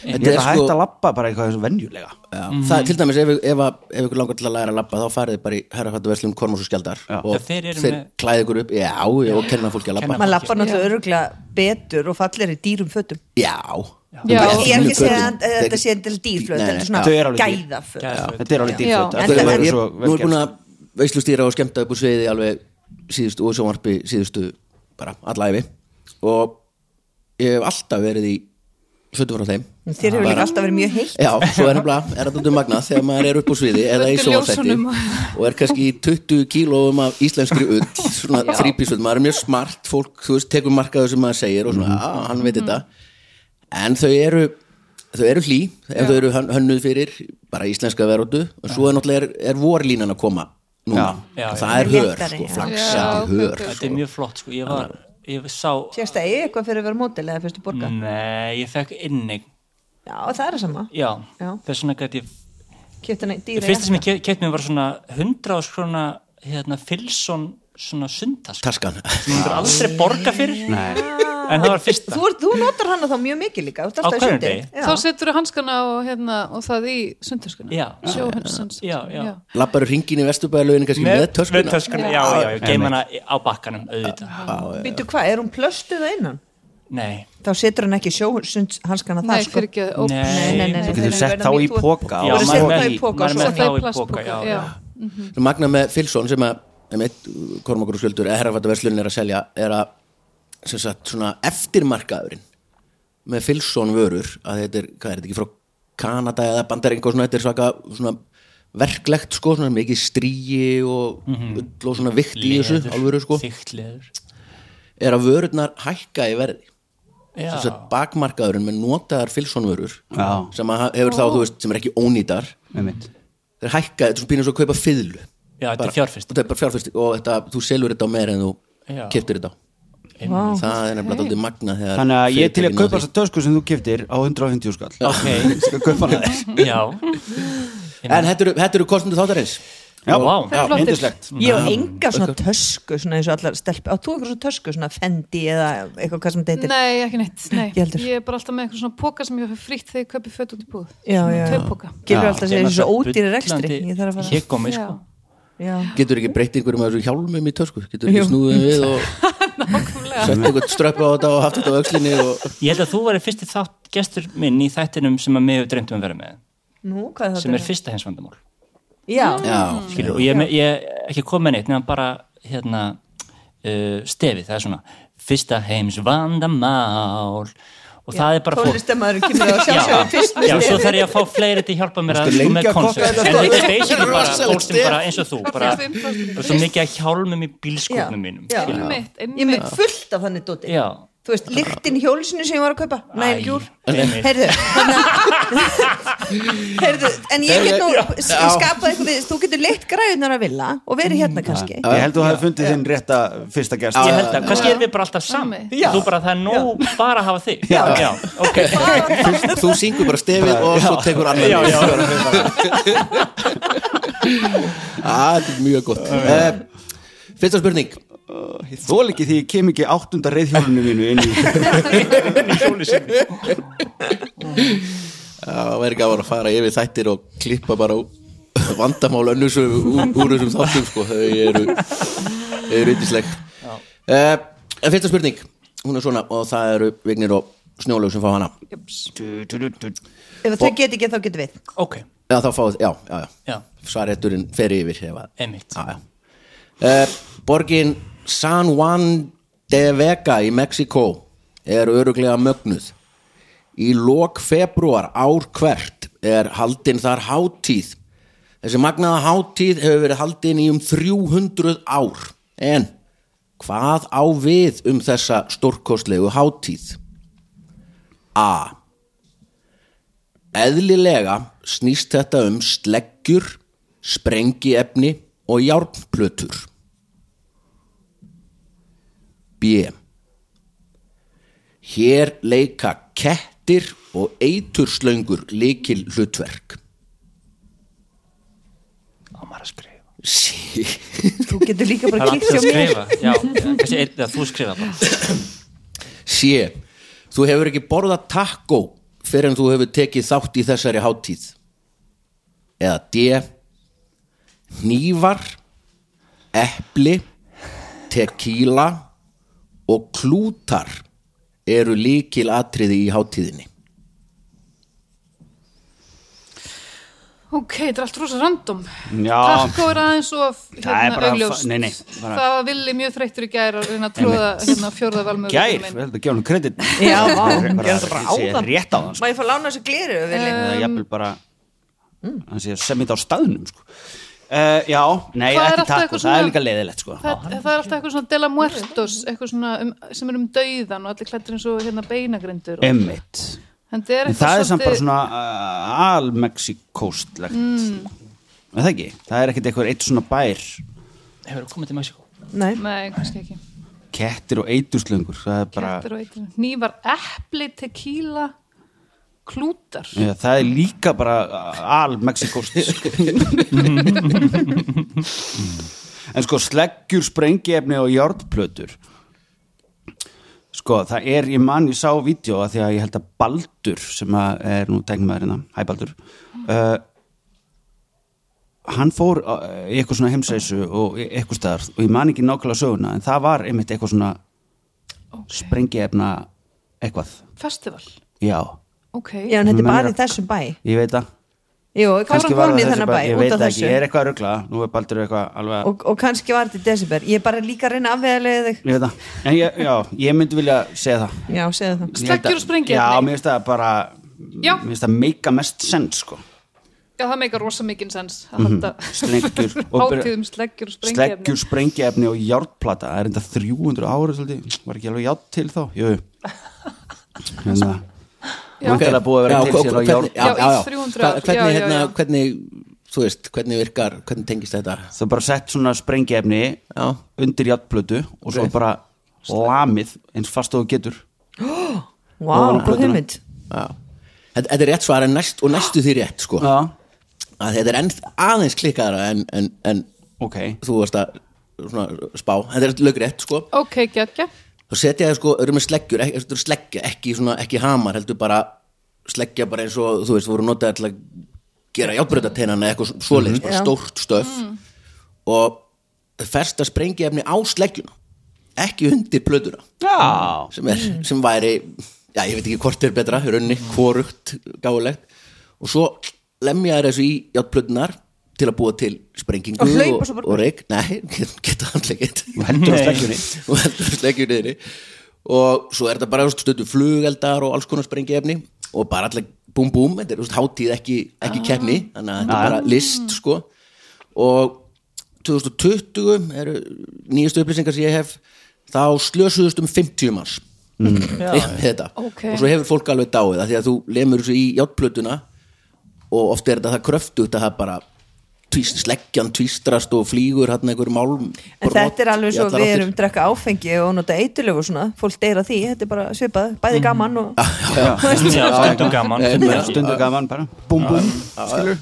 Ég
Þetta
ætla
er
að
sko
hætta að lappa bara eitthvað þessu venjulega
já,
Mm.
það, er Til dæmis ef, ef, að- ef ykkur langar til að læra að labba þá farið þið bara í herrafættuverslum Kormos og Skjaldar
Já.
og
Já, þeir eru með-
klæði ykkur upp, já, já, og kenna fólki að labba
maður lappar náttúrulega öruglega betur og fallir í dýrum fötum
Já,
Já. Já.
Ég er ekki að segja að
Þeir-
eh, þetta sé til dýrflöð
Nei,
þetta er svona
þau eru alveg dýr.
gæðaföt
Þetta er alveg
Já.
dýrföt
Þau
En það
Þetta
eru-
er
er-
svo
Nú
vel
er búin
gert
að veislustýra og skemmta upp úr sviði alveg síðustu og sjónvarpi síðustu bara alla yfi og ég hef alltaf verið í fötum frá þeim
þér hefur líka alltaf verið mjög heitt
Já, svo er nefnilega, er þetta um magnað þegar maður er upp á sviði eða í
Undir
sjónvarpsætti
ljósunum.
og er kannski í 20 kílóum af íslenskri ull, svona þrýpísull maður er mjög smart, fólk, þú veist, tekur markaðu sem maður segir og svona,
Mhm.
að hann veit þetta en þau eru þau eru hlý, ef þau eru hön- hönnuð fyrir bara íslenska verótu og svo er náttúrulega er, er vorlínan að koma núna,
Já, já,
Og
já.
það er hör,
Léttari,
sko,
já.
Já,
flaksandi hör
Þetta er
sko.
mjög flott, sko Ég var, ég sá
sést það eigi eitthvað fyrir að vera mótil eða fyrstu
Mm.
borga
Nei, ég fekk innig
já það er það sama
Já,
Já.
þess vegna gæti ég
kjöptan
Það
dýra
fyrsta sem
jakka.
ég keft keypt mér var svona 100 skrona hérna Filson svona sundask
Taskan
sem hún er aldrei borga fyrir Nei. en það var fyrsta
þú, ert- þú notar hana þá mjög mikið líka þú ert alltaf
Á
í
hverjum
sundi.
degi?
Já.
þá setur þú hanskana og, hérna, og það í sundarskuna
Já.
sjóhansans
Já, já.
Labbaru hringin í vesturbæðalöginu kannski með, töskuna
með töskuna, já, já, ég geim hana á bakkanum auðvitað
býtu hvað, er hún plöstuð að innan?
Nei,
þá setur hann ekki sjóhundshanskana
nei,
það sko.
fyrir ekki
Nei. Nei, nei,
Þú getur sett þá í póka
Já,
og
maður
setja
með
það
í-
í póka og
maður
svo
með
það
þá í
plastpoka,
poka, já,
já.
Svo Magna með Filsson sem að einmitt, Kormakur og Skjöldur eða herrafættaverslunin er að selja er að sem sagt svona eftirmarkaðurinn með Filsson vörur að þetta er, hvað er þetta ekki frá Kanada eða bandarengu og svona, þetta er svaka svona verklegt sko, svona mikið stríi og ull og svona vikt í þessu alvöru sko,
þykkt leður
er að vörurnar hækka í verði
Já,
sem sagt bakmarkaðurinn með notaðar Filsson vörur
Já.
sem að hefur þá, þú veist, sem er ekki ónýtar
Einmitt.
þeir hækka, þetta er svona býnir svo að kaupa fiðlu
Já, þetta er
Bara-
fjárfesting.
þetta er bara fjárfyrst og þetta, þú selur þetta á meira en þú
Já.
keftir þetta á
Vá.
það er nefnilega aldrei magna þegar
Þannig að ég er til að
fyrirtækin
kaupa
ná því.
þessa tösku sem þú keftir á 150 skall
Ok.
(laughs) Ég Skal kaupa
(laughs)
hana þér
já
en þetta eru- þetta eru kostnum þáttarins
Já,
vá.
já,
Flottir.
yndislegt
ég á enga svona tösku svona eins og allar stelp á þú eitthvað svona tösku svona Fendi eða eitthvað hvað sem þetta heitir
Nei, ekki neitt, nei.
Ég heldur.
Ég er bara alltaf með eitthvað svona póka sem ég hef frýtt þegar ég kaupi fött út í búð.
Já, já, já.
Tvei póka.
gilur alltaf að segja þessu ódýri rekstri ég þarf að fara
Ég komi, sko
Já.
getur ekki breytt einhverjum af þessu hjálmum í tösku getur ekki snúðum við og sett einhvern ströpp á þetta og haft þetta á öxlinni og
Ég held að þú væri fyrsti þátt gestur minn í þættinum sem að mig hefur dreymt um að vera með
nú hvað er
sem
það
er fyrsta hins vandamál
já
já,
skilur, og ég, me- ég ekki kom með neitt nefnum bara hérna uh, stefið, það er svona fyrsta heims vandamál og það er bara fólk
tónlistamæður kemur á
Já,
sjálfsögum fyrst
já, svo þarf ég að fá fleiri til að hjálpa mér að sko,
Varstu lengi
með
að kokka
konsert
þetta
en þetta er
stef?
basically bara
Rosalegt
fólk sem
stef.
bara eins og þú bara, og svo mikið að hjálmum í bílskotnum mínum
Já,
skilur.
já.
Einmitt,
ég
einmitt.
mynd fullt af þannig dóti
já,
þú veist, lyktin í hjólsinu sem ég var að kaupa
Æ,
næn gjúr
Emil.
heyrðu hérna- heyrðu, en ég get nú s- skapað eitthvað við, þú getur leitt græðunar að vilja og verið
Mm,
hérna kannski
Ég held að þú hafi fundið þinn rétta fyrsta gest
Ég held að, kannski erum við bara alltaf saman
Sammi.
Þú bara, það er nóg bara að hafa þig Já, já ok
þú, þú syngur bara stefið og svo tekur annan
Já, já.
(laughs) Ah, þetta er mjög gott uh, Fyrsta spurning
Ég þól ekki því ég kem ekki áttunda reyðhjólinu mínu inn í
Það væri gaman að fara yfir þættir og klippa bara ú- vandamál önnur sem úr, úr þessum þáttum sko. þau eru þau eru yndisleg uh, En fyrsta spurning, hún er svona og það eru Vignir og Snjólaug sem fá hana
ef þau get ekki þá getur við
Ok,
Já, þá fá, já, já, já.
Já.
Svaretturinn fer yfir hefa.
Einmitt.
Já, já. Uh, borgin San Juan de Vega í Mexiko er öruglega mögnuð. Í lok februar ár hvert er haldin þar hátíð. Þessi magnaða hátíð hefur verið haldin í um 300 ár. En hvað á við um þessa stórkostlegu hátíð? A. Eðlilega snýst þetta um sleggjur, sprengiefni og járnplötur. B. Hér leika kettir og eiturslöngur likil hlutverk.
ámar að skrifa
Sí.
þú getur
Það
líka bara
er alltaf
kíkt
að
hjá mér
skrifa Já, kannski einn, eða þú skrifa bara
C. Þú hefur ekki borðað takkó fyrir en þú hefur tekið þátt í þessari hátíð. Eða D. Hnífar, epli, tequila og klútar eru líkil atriði í hátíðinni.
ok, þetta er allt rosa random
Já.
Takkó er aðeins og hérna,
Það er bara-
augljóst
nei, nei, bara-
það var villi mjög þreyttur í gær að reyna að tróða hérna, fjórða valmögu
Gær, við heldum að gefa hann kredit
Já, vá.
Bara að sé rétt á hann sko.
má ég fá lána þessu gleru Villi?
Eða
um,
jafnvel bara
mm.
hann sé að semja þetta á staðnum sko. uh, Já, nei,
Hvað er
ekki
alltaf
takk
eitthvað
það er
svona-
líka leiðilegt sko.
Það, það er alltaf eitthvað svona de la muertos eitthvað svona um, sem er um dauðan og allir klættir eins og hérna beinagrindur og,
Emmitt
en það er
En
eitthvað
það er samt bara svona uh, almexikóstlegt mm. Er það ekki? Það er ekkert eitthvað eitt svona bær
Hefur þú komið til Mexiko?
nei,
nei, kannski ekki
kettir og eiturslöngur það er bara
Kettir og eitur. nývar epli, tequila klútar
Já, það er líka bara sko. al-Mexikost En sko sleggjur, sprengiefni og járnplötur Sko, það er, ég man, ég sá vídeo að því að ég held að Baldur sem að er nú tengmaðurina, hæ Baldur uh, hann fór uh, í eitthvað svona heimsreisu og í- eitthvað staðar og ég man ekki nákvæmlega söguna en það var einmitt eitthvað svona sprengiefna eitthvað,
festival,
já
ok
já, en þetta er bara
Meira-
í þessum bæ
Ég veit það
jú, kannski var hún í
það þessi
þennan bæ
bara- Ég
út
veit
af
það ekki,
þessu
ég er eitthvað að ruggla Nú er Baldur eitthvað alveg að
og, og kannski var þetta í desember ég er bara líka að reyna að afveðlega þig
Ég veit það En ég, já, ég myndi vilja segja það
já, segðu það
Ég held
Sleggjur
að-
og sprengiefni.
Já, mér finnst það bara
Já.
Mér finnst það meika mest sens sko
Já, það meikar rosa mikinn sens að halda
Mhm. Sleggjur
(laughs)
og byrja-
hátíðum sleggjur og
Sleggjur,
sprengjefni
sprengiefni og járnplata Það er enda 300 ára svolítið Var ekki alveg járn til þá? Jú
(laughs)
Hérna
Já.
Vantilega búið að vera til sér á
hvernig-
járn
Já, í 300 ár,
Hva- Hvernig,
já, já,
hérna,
já.
hvernig, þú veist, hvernig virkar, hvernig tengist þetta?
Það er bara sett svona sprengiefni
Já.
Undir járnplötu Og svo
Ok.
bara lamið eins fast og þú getur
wow,
Og
góð
plötuna.
hugmynd
Já. Þetta, þetta er rétt svar en næst, og næstu því rétt, sko.
Já,
Að þetta er enn, aðeins klikkaðara en, en, en
ok
þú varst að svona, spá, þetta er lögrétt sko
ok, geggja
þá setja það sko, eru með sleggjur ekki, þetta eru sleggja, ekki, svona, ekki hamar heldur bara sleggja bara eins og þú veist, voru notaði til að gera játbrötateinan eða eitthvað svoleiðis, bara
Já.
stórt stöf og festa sprengiefni á sleggjuna ekki undir plötuna
Já,
sem, er,
Mm.
sem væri, já ég veit ekki hvort er betra í rauninni, hvorugt gáulegt og svo lemja þær þessu í játplötunar til að búa til sprengingu
Og hlaupa svo
og,
bara-
og reik nei, get- geta hann leikit
þú heldur á sleggjunni
og heldur sleggjur niðri og svo er þetta bara þú veist, stundu flugeldar og alls konar sprengiefni og bara allir búm búm, þetta er þú veist, hátíð ekki,
Ah.
ekki keppni, þannig að þetta er bara list sko og 2020 eru nýjastu upplýsingar sem ég hef þá slösuðust um 50 manns (laughs) með þetta
Ok.
og svo hefur fólk alveg dáið af því að þú lemur þessu í játplötuna og oft er þetta það kröftugt að það bara tvíst, sleggjan tvístrast og flýgur hann einhver málm
En þetta er alveg svo við erum
já,
drekka áfengi og nota eitulög og svona, fólk deyra því, þetta er bara svipað, bæði gaman og
Já, stundum gaman stundum
Bara
ekki.
stundu gaman bara búm búm skilur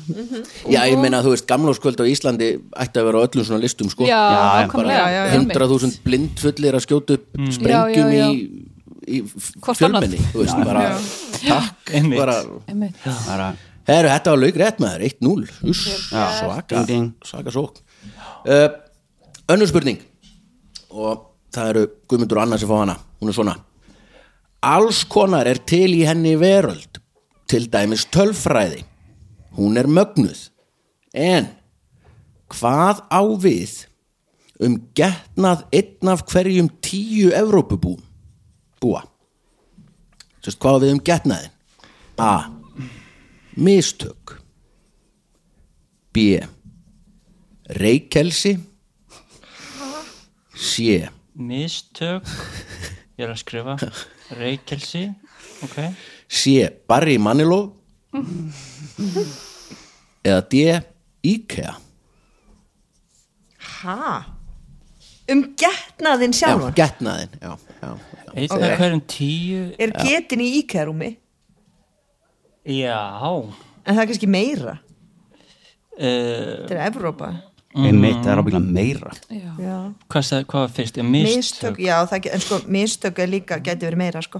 ég meina þú veist, gamláskvöld á Íslandi ætti að vera á öllum svona listum sko
Já,
Já, en
ákvæmlega, já, já, einmitt.
100.000 blindfullir að skjóta upp sprengjum
Já, já, já.
í, í
Hvort
fjölmenni þú veist, bara, takk
Einmitt.
bara,
Einmitt.
bara
Heru, þetta var lauk rétt maður, 1-0 Uss, svaka,
Ding, ding.
svaka sók uh, önnur spurning og það eru Guðmundur og Anna sem fá hana, hún er svona alls konar er til í henni veröld til dæmis tölfræði hún er mögnuð en hvað á við um getnað einn af hverjum tíu Evrópubú búa Sest, hvað á við um getnaðin A mistök B reykelsi C
mistök ég er að skrifa reykelsi ok
C Barry Manilow eða D Ikea
ha um getnaðinn
já,
sjálfan
getnaðin já, já, já.
einn okay. hverjum tíu
er getin í íkærumi
já
en það er kannski meira,
uh,
þetta er Evrópa
einmitt það er ábygglega meira
já,
hvað, sagði- hvað var fyrst mistök,
mistök já, það, ge- en sko, mistök er líka geti verið meira sko,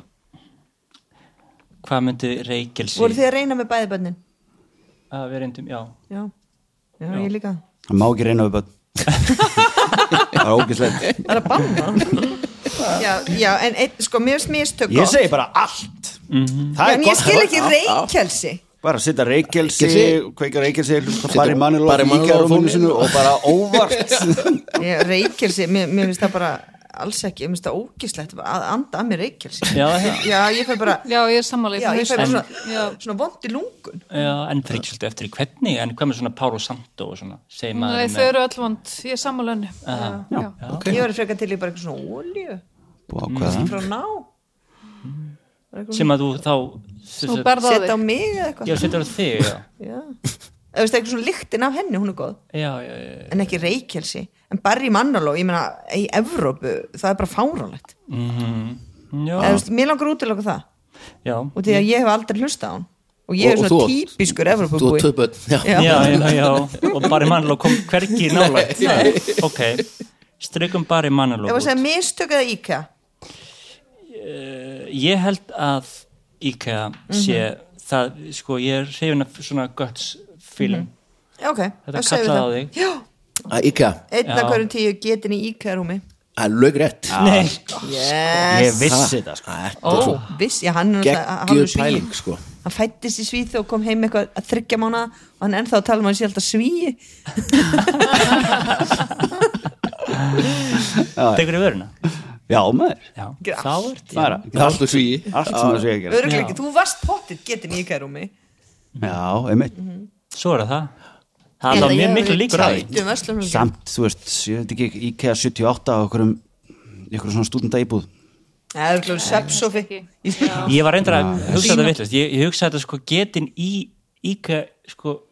hvað myndi reykelsi
voru þið að reyna með bæði bönnin
að við reyndum já
já, já, ég líka
það má ekki reyna (laughs) upp að það er ógislegt
það er að banna (laughs) já, já, en ein, sko, mér finnst mistök
ég
gott.
segi bara allt það
Já,
er
en ég
gott
skil ekki reykelsi
bara setja reykjelsi
Reykjelsi.
kveikja reykjelsi bara í mannilu
Barry Manilow á
íkjárfónu
fóninn.
sinu og bara óvart
Ég- reykelsi, mér, mér finnst það bara alls ekki, mér finnst það ógislegt að anda að mér reykelsi
Já, það er-
já ég fær bara
Já, ég er sammála ég
já,
fæ
ég fær
hausverk.
bara
Já.
svona, svona vond í lungun
já en það er ekki svolítið eftir í hvernig en hvað með svona Páru Sandó og svona segir maður
Nei, þau eru öll vond, ég er sammála henni Já, já.
ég var frekar til í bara eitthvað svona olju frá ná,
sem að þú þá
Þú
sem sagt-
berð á
setja á
þig
mig eða eitthvað
já setur á þig já
Já. eða veist eitthvað svona lyktin af henni hún er góð,
já já, já, já.
en ekki reykelsi en Barry Manilow, ég meina í Evrópu, það er bara fáránlegt
já,
eða veist, mér langar út til okkur það
já.
og því að ég hef aldrei hlusta á hann og ég er
Og- og
svona
þú-
típiskur
þú
Evrópubúi
er töpöld já.
Já.
já, já, já, og Barry Manilow kom hvergi
(laughs)
nálægt Nei, ok, strykum Barry Manilow
ef að
út.
segja mistök eða íka
ég held að IKEA
Mhm.
sé það, sko, ég er hrifin af svona guts feeling
ok,
þetta
þá segjum
kallaði
við
á þig
það Já,
Að Ikea,
einn af
Já.
hverjum tíu getin í íkærumi
það er lög rétt
Ah,
Nei,
yes.
ég vissi það sko
Ah,
oh. viss, já, hann, er náttúrulega- hann,
geggjöð
er svíi.
pæling sko
hann fættist í Svíð og kom heim eitthvað að þryggja mánu og hann er ennþá að tala um að hann sé alltaf svíi Mhm.
(laughs) tekur í vöruna
(laughs) já maður
já,
Gerðu
þá er þetta
bara
allt og svíi
allt sem það sé að gera
Örugglega ekki, þú varst pottið getin í íkærumi
já einmitt
svo er það það er alveg mjög miklu líkur á því
Döfum verslum
samt þú veist ég veit ekki IKEA 78 á okkurum ykkur svona stúdenda íbúð
Það er glóður svepsofi
ég var reyndar að hugsa þetta vittlust ég, ég hugsa þetta sko getin í IKEA sko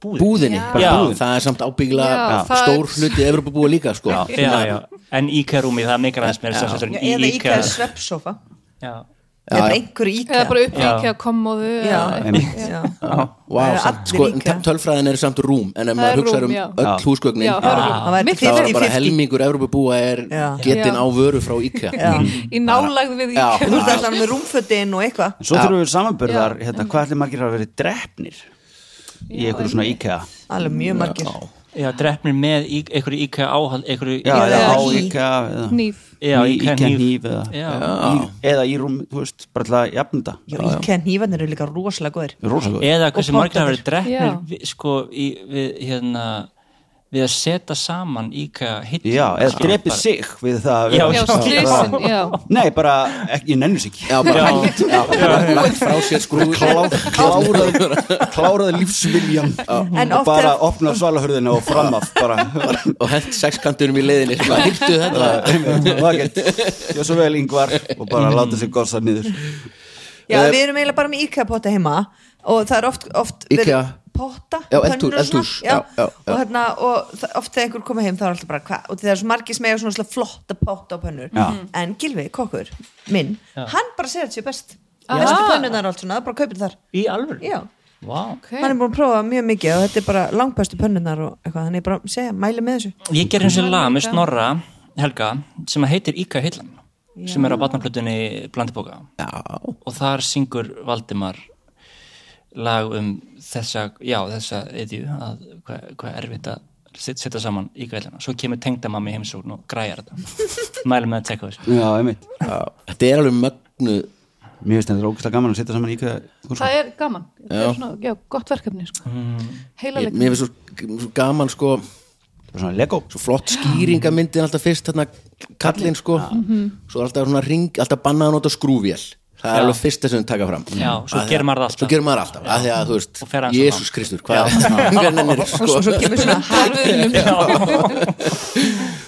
búðin
búðinni,
Já.
bara búðin, það er samt
Já,
ábyggla
það-
stór hluti Evrópubúi líka sko
já, já, en IKEA rúmi það er mikil aðeins mér sem sagt
Eða
í IKEA
íkæra svepsofa
já,
Eða bara einhverju íkæra
Eða bara upp í
Já.
ekki að kommóðu
Já,
einmitt
já. Það
Vá,
er
samt,
allir
sko, en
IKEA.
tölfræðin er samt rúm en ef
Það er
maður hugsaður
rúm,
um
já.
öll húsgögnin
Ah.
Já,
Það væri
þá er
50-50.
bara helmingur Evrópubúa er
Já.
getinn
Já.
á vöru frá IKEA
Í nálægð við
Já.
ekki
Þú ert alltaf með rúmfötin og eitthvað
svo þurfum við samanbyrðar hérna, hvað ætlir margir að vera drefnir í ykkur svona IKEA
Alveg mjög margir
já, drefnir með í- einhverju IKEA áhald einhverju
já, eða á
í-
IKEA eða
Nýf
Já,
í-
í
IKEA
hníf.
hníf eða,
Já.
í- eða í rúm þú veist, bara til að jafna
Já,
þetta
íkæra hnífarnir eru líka rosalega góðir
rosa góð
eða hversu
Og
margir hafa verið
pottarnir.
drefnir við, sko, í, við hérna við að setja saman íka hitt
já, eða drepið sig við það að
Já,
vera-
já,
bara-
strísin, já
nei, bara, ekki, ég nennu sig ekki
Já, bara
(laughs)
hægt já, bara lagt frá sér skrúður
Klá- kláraði kláraði lífsviljan
En
og
oft
bara
er-
opna svalahörðina og fram af bara,
og hent sexkanturum í leiðinni sem að hýrtu þetta
Vakett, gjör svo vel yngvar og bara láta sig gossa niður
Já,
Eh,
við erum eiginlega bara með IKEA potta heima og það er oft, oft verið-
IKEA.
potta,
Já,
pönnur
eldhús,
og svona,
eldhús, já, já, já.
og, hérna, og það- oft þegar einhver koma heim þá er alltaf bara hvað, og það er svo margir sem eiga svona óslega flotta potta og pönnur,
Já.
en Gilvi, kokkur minn, hann bara segir þetta sér best
Já.
bestu pönnunar og allt svona, það bara kaupir þar
í alvöru
já,
Vá.
hann er búin að prófa mjög mikið og þetta er bara langbæstu pönnunar og eitthvað, hann er bara að segja, mæli með þessu
ég ger eins og lag með Snorra Helga sem að heitir Íka Hillan sem er á batnaplutunni Blandibóka
já,
og þar syngur Valdimar lag um þessa, já þessa edju að hvað hva er erfitt að set- setja saman í gælina, svo kemur tengdamammi í heimsókn og græjar
(laughs)
þetta mælum með að tekka þessu
já, einmitt
já. þetta er alveg mögnu
mér finnst þetta ógæslega gaman að setja saman íkveða kúrsa
Það er gaman, það er svona, já, gott verkefni sko.
Mm.
heila
ég-
leik
mér finnst svo, svo gaman sko
bara svona lego
svo flott skýringamyndin alltaf fyrst þarna kallinn sko svo er alltaf svona ring, alltaf bannað að nota skrúvél það er
Já.
alveg fyrsta sem þau taka fram
Já, svo
Af því Mm. að-
gerir maður það alltaf.
svo gerir maður alltaf, að því að þú veist
Og fer aðeins á
Jésús
land.
Kristur, hvað (laughs) hvernig er sko
og svo kemur svona
Harfiðnum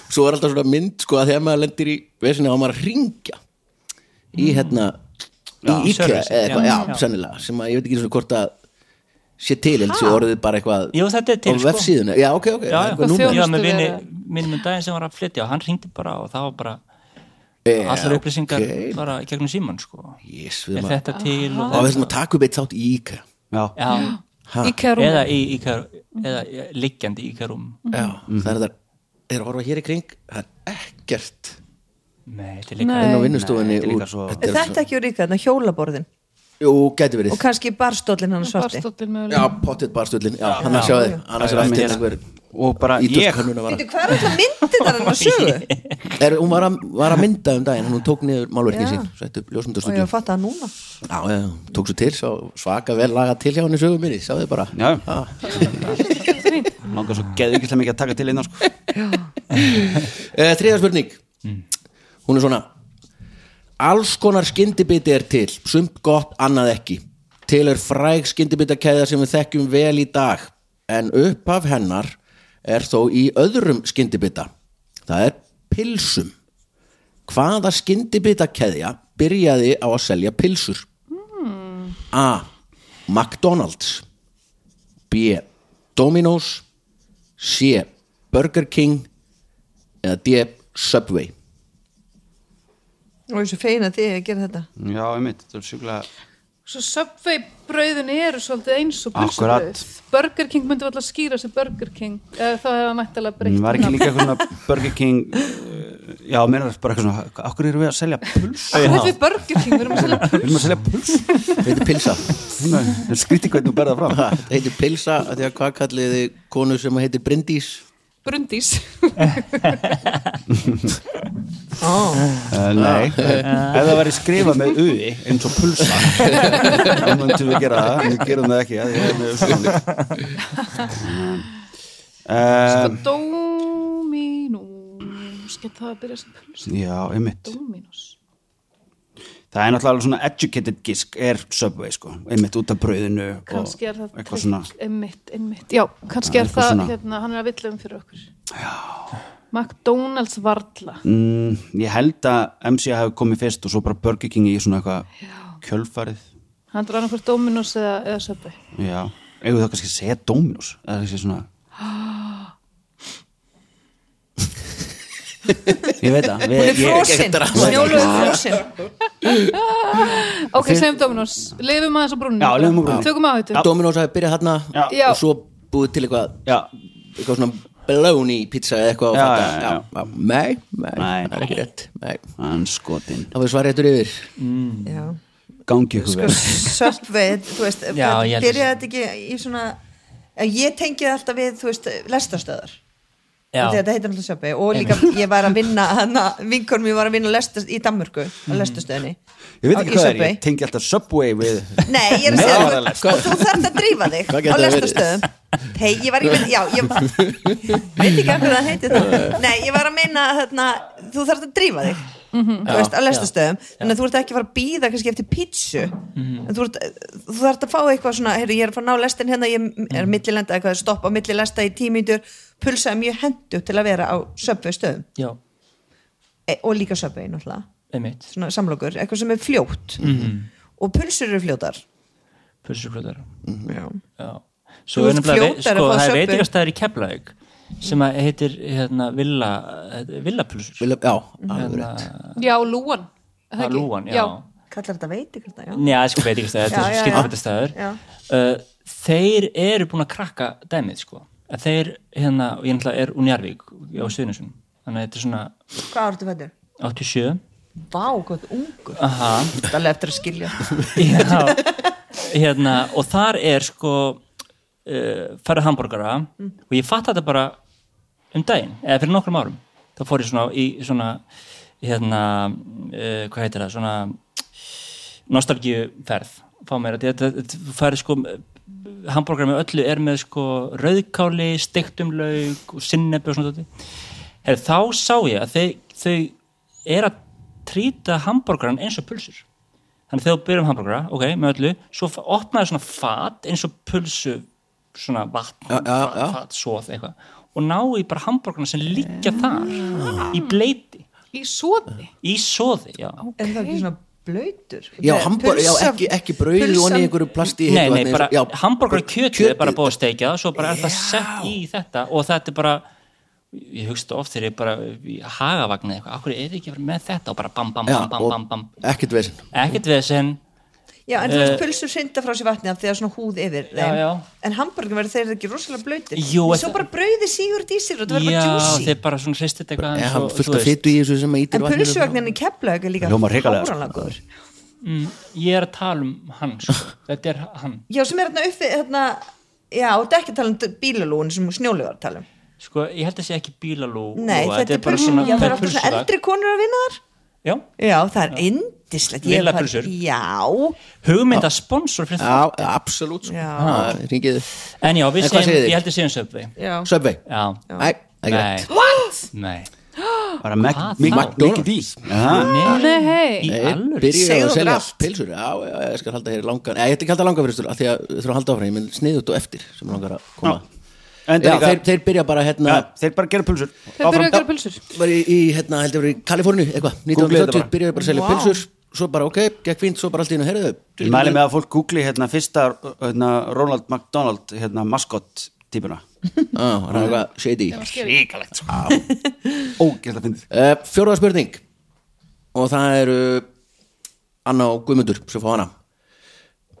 svo er alltaf svona mynd sko að þegar maður lendir í vesinni á maður að ringja í hérna í IKEA
service,
eða eitthvað,
já.
já,
Já.
sennilega sem að ég veit ekki svona hvort að sé til, held sé orðið bara eitthvað
Jú, þetta er til,
á
sko.
vefsíðuna, já, ok, ok, það
já,
er
já,
eitthvað númer.
ég var með vini,
Þjónustu
minnum daginn sem var að flytja og hann ringdi bara og það var bara
Já,
allar upplýsingar
ok.
bara í gegnum síman sko.
Yes, við
er
maður-
þetta til og
og við þessum að taka upp eitt þátt í IKEA
já,
já,
Íkja rúm
eða í íkar eða ja, liggjandi íkarum
Mhm.
já, það er það er að horfa hér í kring, það er ekkert
nei, þetta er
Nei.
líka
inn á vinnustofunni
þetta er líka
úr-
svo-
þetta
er
er
þetta ekki úr IKEA, þannig hjólaborðin
svo- jú, gæti verið
og kannski barstólinn hann svarti
já,
Barstóttin mögulega
pottitt barstullin, já, hann að sjá þið annars er allt
Já,
til
já.
einhver
og bara ég
ítöskannun að vara
Bíddu, hvað er alltaf myndið þar hann að
(laughs)
sögu?
er, hún var að, var að mynda um daginn hún tók niður málverkið
Já.
sín sættu upp
og ég
ljósmyndastúdíu
var að fatta það núna
já, já, tók svo til, svo svaka vel laga til hjá henni sögum minni, sá þið bara
já,
Ah.
langar svo geðvikislega mikið að taka til innan sko.
Eh, þriða spurning hún er svona alls konar skyndibiti er til sumt gott, annað ekki til er fræg skyndibitakæða sem við þekkjum vel í dag en upphaf hennar er þó í öðrum skyndibita það er pilsum hvaða skyndibitakæðja byrjaði á að selja pilsur A. McDonalds B. Domino's C. Burger King eða D. Subway
og ég er svo feina því að gera þetta
já, einmitt, þetta er sjúklega
Svo Subway brauðin eru svolítið eins og pulsubrauð Burger King myndi alltaf skýra sem Burger King eða þá hefur mættilega breytt
Mm, var ekki
nafn.
líka eitthvað svona Burger King eh, já, meina það bara eitthvað svona okkur erum við að selja puls
Hvað er við Burger King? Við erum að selja
(laughs) við erum að selja puls
þetta (laughs) heitir pilsa
skríti hvernig þú berða fram
þetta heitir pilsa af því að hvað kallið þið konu sem heitir Bryndís
brundís
Uh, nei, ef það væri skrifað með uði eins og pulsa þá myndum við gera það, en við gerum það ekki að því að það er Eh, með
Dominus Gett það að byrja sem pulsu
uði Já, einmitt
Dominus
Það er náttúrulega alveg svona educated gisk er Subway sko, einmitt út af brauðinu og
kannski er það
eitthvað svona
tryggt, einmitt, einmitt, já, kannski er
eitthvað
það
svona.
hérna, hann er að villa um fyrir okkur já. McDonalds varla
mm, Ég held að MC hafi komið fyrst og svo bara Burger King í svona eitthvað
já,
kjölfarið
hann er annað hvort Dominus eða, eða Subway
Já, eigum það kannski að segja Dominus eða kannski svona
(gasps)
Ég veit það
hún
við-
er frosin, snjóluðu frosin
ok, segjum Dominus, lifum aðeins á brúninu
Já, lifum á brúnni.
tökum áhættu
Dominós hafi byrjað þarna
Já.
og svo búið til eitthvað
Já,
eitthvað svona blóni pizza eða eitthvað
Já,
að fatta.
já, já.
nei, nei,
Nei.
það er ekki rétt nei.
hann skotin
það var svarið eftir yfir
já,
gangi
Sko,
ykkur vel
Subway, þú veist
Já, ég held að-
byrjaði þetta ekki í svona en ég tengi það alltaf við, þú veist, lestarstöðar
Já.
Af því að þetta heitir alltaf sjöpi og líka ég var að vinna hana, vinkonum ég var að vinna lestast, í Danmörku
Mhm.
á lestastöðinni
Ég veit ekki
Á-
hvað það
í
er,
Subway.
ég tengi allest Subway við
Nei, ég er að segja
Meðalvaralest.
þú- og þú þarft að drífa þig
Hvað
á
gæti það verið?
lestastöðum Hei, ég var í já, ég veit ekki af hverju það heitir það Nei, ég var að meina þarna, þú þarft að drífa þig þú veist, á lestastöðum þannig að þú ert ekki að fara að býða kannski eftir pítsu en þú, ert, þú þarft að fá eitthvað svona heyrðu, ég er að fara að ná lestin hérna, ég er að millilenda eitthvað, stopp á millilesta í tímyndur pulsa er mjög hendu til að vera á söpvei stöðum
já,
e, og líka söpvei náttúrulega
einmitt,
svona samlokur, eitthvað sem er fljótt og pulsur eru fljótar
pulsurklöðar
já.
já,
Þú
svo er
ert
nefnilega vei-
fljótari
sko,
að
það
fá
er
söppu.
veitingastæður í Keflavík sem að heitir hérna Villa, Villa pulsur
Vilja- Já, alveg rétt
já, lúan er það
það
ekki?
er lúan, já,
já.
kallar þetta veit ykkur það, já
Mm.
Njá, sko veitingastæður,
Já,
þetta
já,
er
já.
skilfættastæður
Já.
uh, þeir eru búin að krakka dæmið, sko að þeir, hérna, og ég náttúrulega er úr Njarvík á Suðunisum, þannig að þetta er svona
hvað ártu fættur?
87
Vá, hvað ungur
aha,
Þetta er alveg eftir að skilja
Já, hérna, og þar er sko uh, færið hambúrgara og ég fatt þetta bara um daginn, eða fyrir nokkrum árum þá fór ég svona í svona hérna, uh, hvað heitir það svona nostalgíuferð fá mér að þetta, þetta þú færið sko hambúrgara með öllu er með sko rauðkáli, steiktum lauk og sinnebi og svona þetta Her, þá sá ég að þau, þau er að trýta hambúrgaran eins og pulsur Þannig þegar þú byrjum hambúrgara, ok, með öllu, svo f- opnaði svona fat eins og pulsu, svona vatn,
Já, já, já.
fat, fat, svoð, eitthvað, og ná í bara hambúrgarna sem liggja þar, í bleiti,
í svoði
í soði, já.
En það (laughs) er ekki svona blöytur
Já, hambúr, já, ekki, ekki brauð og í einhverju plasti
Nei, nei, bara hambúrgar kjötið er bara búið að steikja það, svo bara er það sett í þetta og þetta er bara, ég hugsa þetta oft þegar ég bara í hagavagnið eitthvað, akkur er ekki að vera með þetta og bara bam, bam,
Já,
bam, bam,
og
bam, bam,
ekkert veginn
ekkert vesen,
Já, en þú
Eh.
veist, pulsur synda frá sér vatni af því að svona húð yfir þeim
já.
En hambúrgar verður þeir ekki rosalega blöytir
Jú,
En
en
Svo
það-
bara brauði sígur í sér og það verður
já,
bara juicy
þeir bara svona hristið þetta eitthvað
Já,
aðeins
hann
og,
fullt
þú
af
veist,
fytu í þessu sem að ítir
En pulsuvagnin í Keflavík er líka
Hljómar hrikalega, sko.
fáránlegur.
ég er að tala um hann,
(laughs)
sko. þetta er hann.
Já, sem er hérna uppi hérna, Já, og þetta er ekki að tala um bílalúin sem snjólugar tala um
sko, ég held að sé ekki bílalú
Nei,
og
þetta er pulsur Já, það
þetta
er alltaf svona eldri konur að vinna þar
já,
Já, það er indislegt Ég
Lilla
far-
pulsur.
Já,
hugmynda sponsor fyrir
Já,
það,
absolutt sko.
Já.
Já, Ringið
en já, við
En hvað
segjum
segið þið?
ég held að segjum söpvi,
já
Subway
já
Æ, ekki rétt
nei, What? nei,
bara Mac-
Hvað
Mic-
þá?
Mickey D's Já,
nei, hei,
í
Nei,
alveg
Byrjuðu
Segðu
að
okkur
selja
allt.
pilsur Já, já, ég skal halda hér langan Nei, Ég ætti ekki að halda langan fyrir stúr Því að þú þurfum að halda áfram Ég minn sniðut og eftir sem mig langar að koma
enda
Já,
líka-
þeir, þeir byrja bara hérna
Já, þeir bara gera pulsur
þau byrjuðu
Áfram.
að gera pulsur
var í, í hérna, heldur verið í Kaliforni eitthvað,
Googlið þetta
1930
bara.
byrjaði bara að selja pilsur svo bara ok, gekk fínt, svo bara allt í hennu herðu
Ég mæli með að fólk googli hérna fyrsta hérna, Ronald McDonald hérna maskott típuna
ah, hann er eitthvað shady
Ríkalegt sko Ógæsla fyndið
uh, Fjóruða spurning og það eru Anna og Guðmundur sem fá hana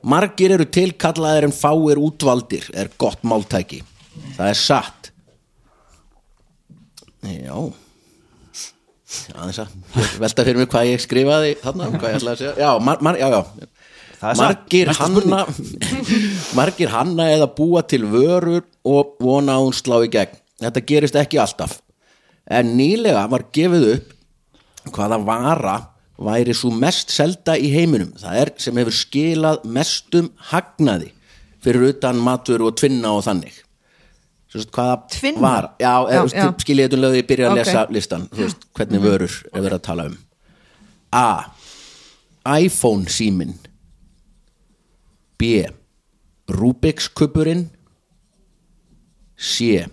Margir eru tilkallaðir en fáir útvaldir er gott máltæki það er satt Já aðeins að ég velta fyrir mig hvað ég skrifaði þarna, hvað ég ætlaði að segja já, mar, mar, já, já.
Það er satt.
margir
Næsta
hanna (laughs) margir hanna eða búa til vörur og vona að hún slá í gegn þetta gerist ekki alltaf en nýlega var gefið upp hvaða vara væri svo mest selda í heiminum það er sem hefur skilað mestum hagnaði fyrir utan matur og tvinna og þannig Svo veist, hvaða
Tvinna?
vara já,
Já,
já, já.
já.
skiljið þetta um lögðu ég byrja að
Ok. Mhm.
lesa listan þú veist, hvernig vörur er verið að tala um A iPhone símin B Rubik's kubburinn C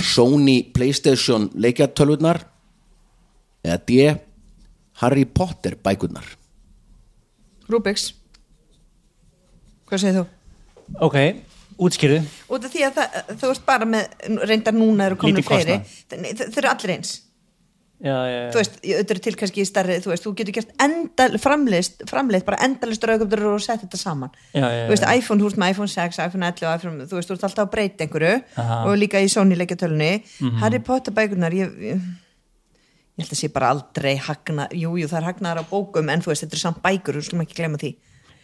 Sony Playstation leikjartölvurnar eða D Harry Potter bækurnar
Rubik's Hvað segir þú?
ok, útskýrðu
Út af því að það, þú ert bara með reyndar núna eru komin
Lítið
fleiri
kostnað.
Nei, þau þau eru allir eins
já, já, já.
þú veist, ég auðvitað er til kannski í starri þú veist, þú getur gert endal, framleist, framleist bara endalist rauðgöfnur og sett þetta saman
Já, já, já.
þú veist, iPhone, þú veist með iPhone 6 iPhone 11 og iPhone, þú veist, þú ert alltaf að breyta einhverju
Aha. Mhm.
og líka í Sony leikjatölunni Harry Potter bækurnar ég, ég, ég held að sé bara aldrei hagna, jú, jú, það er hagnaðar á bókum en þú veist, þetta er samt bækur, þú skulum ekki glemma því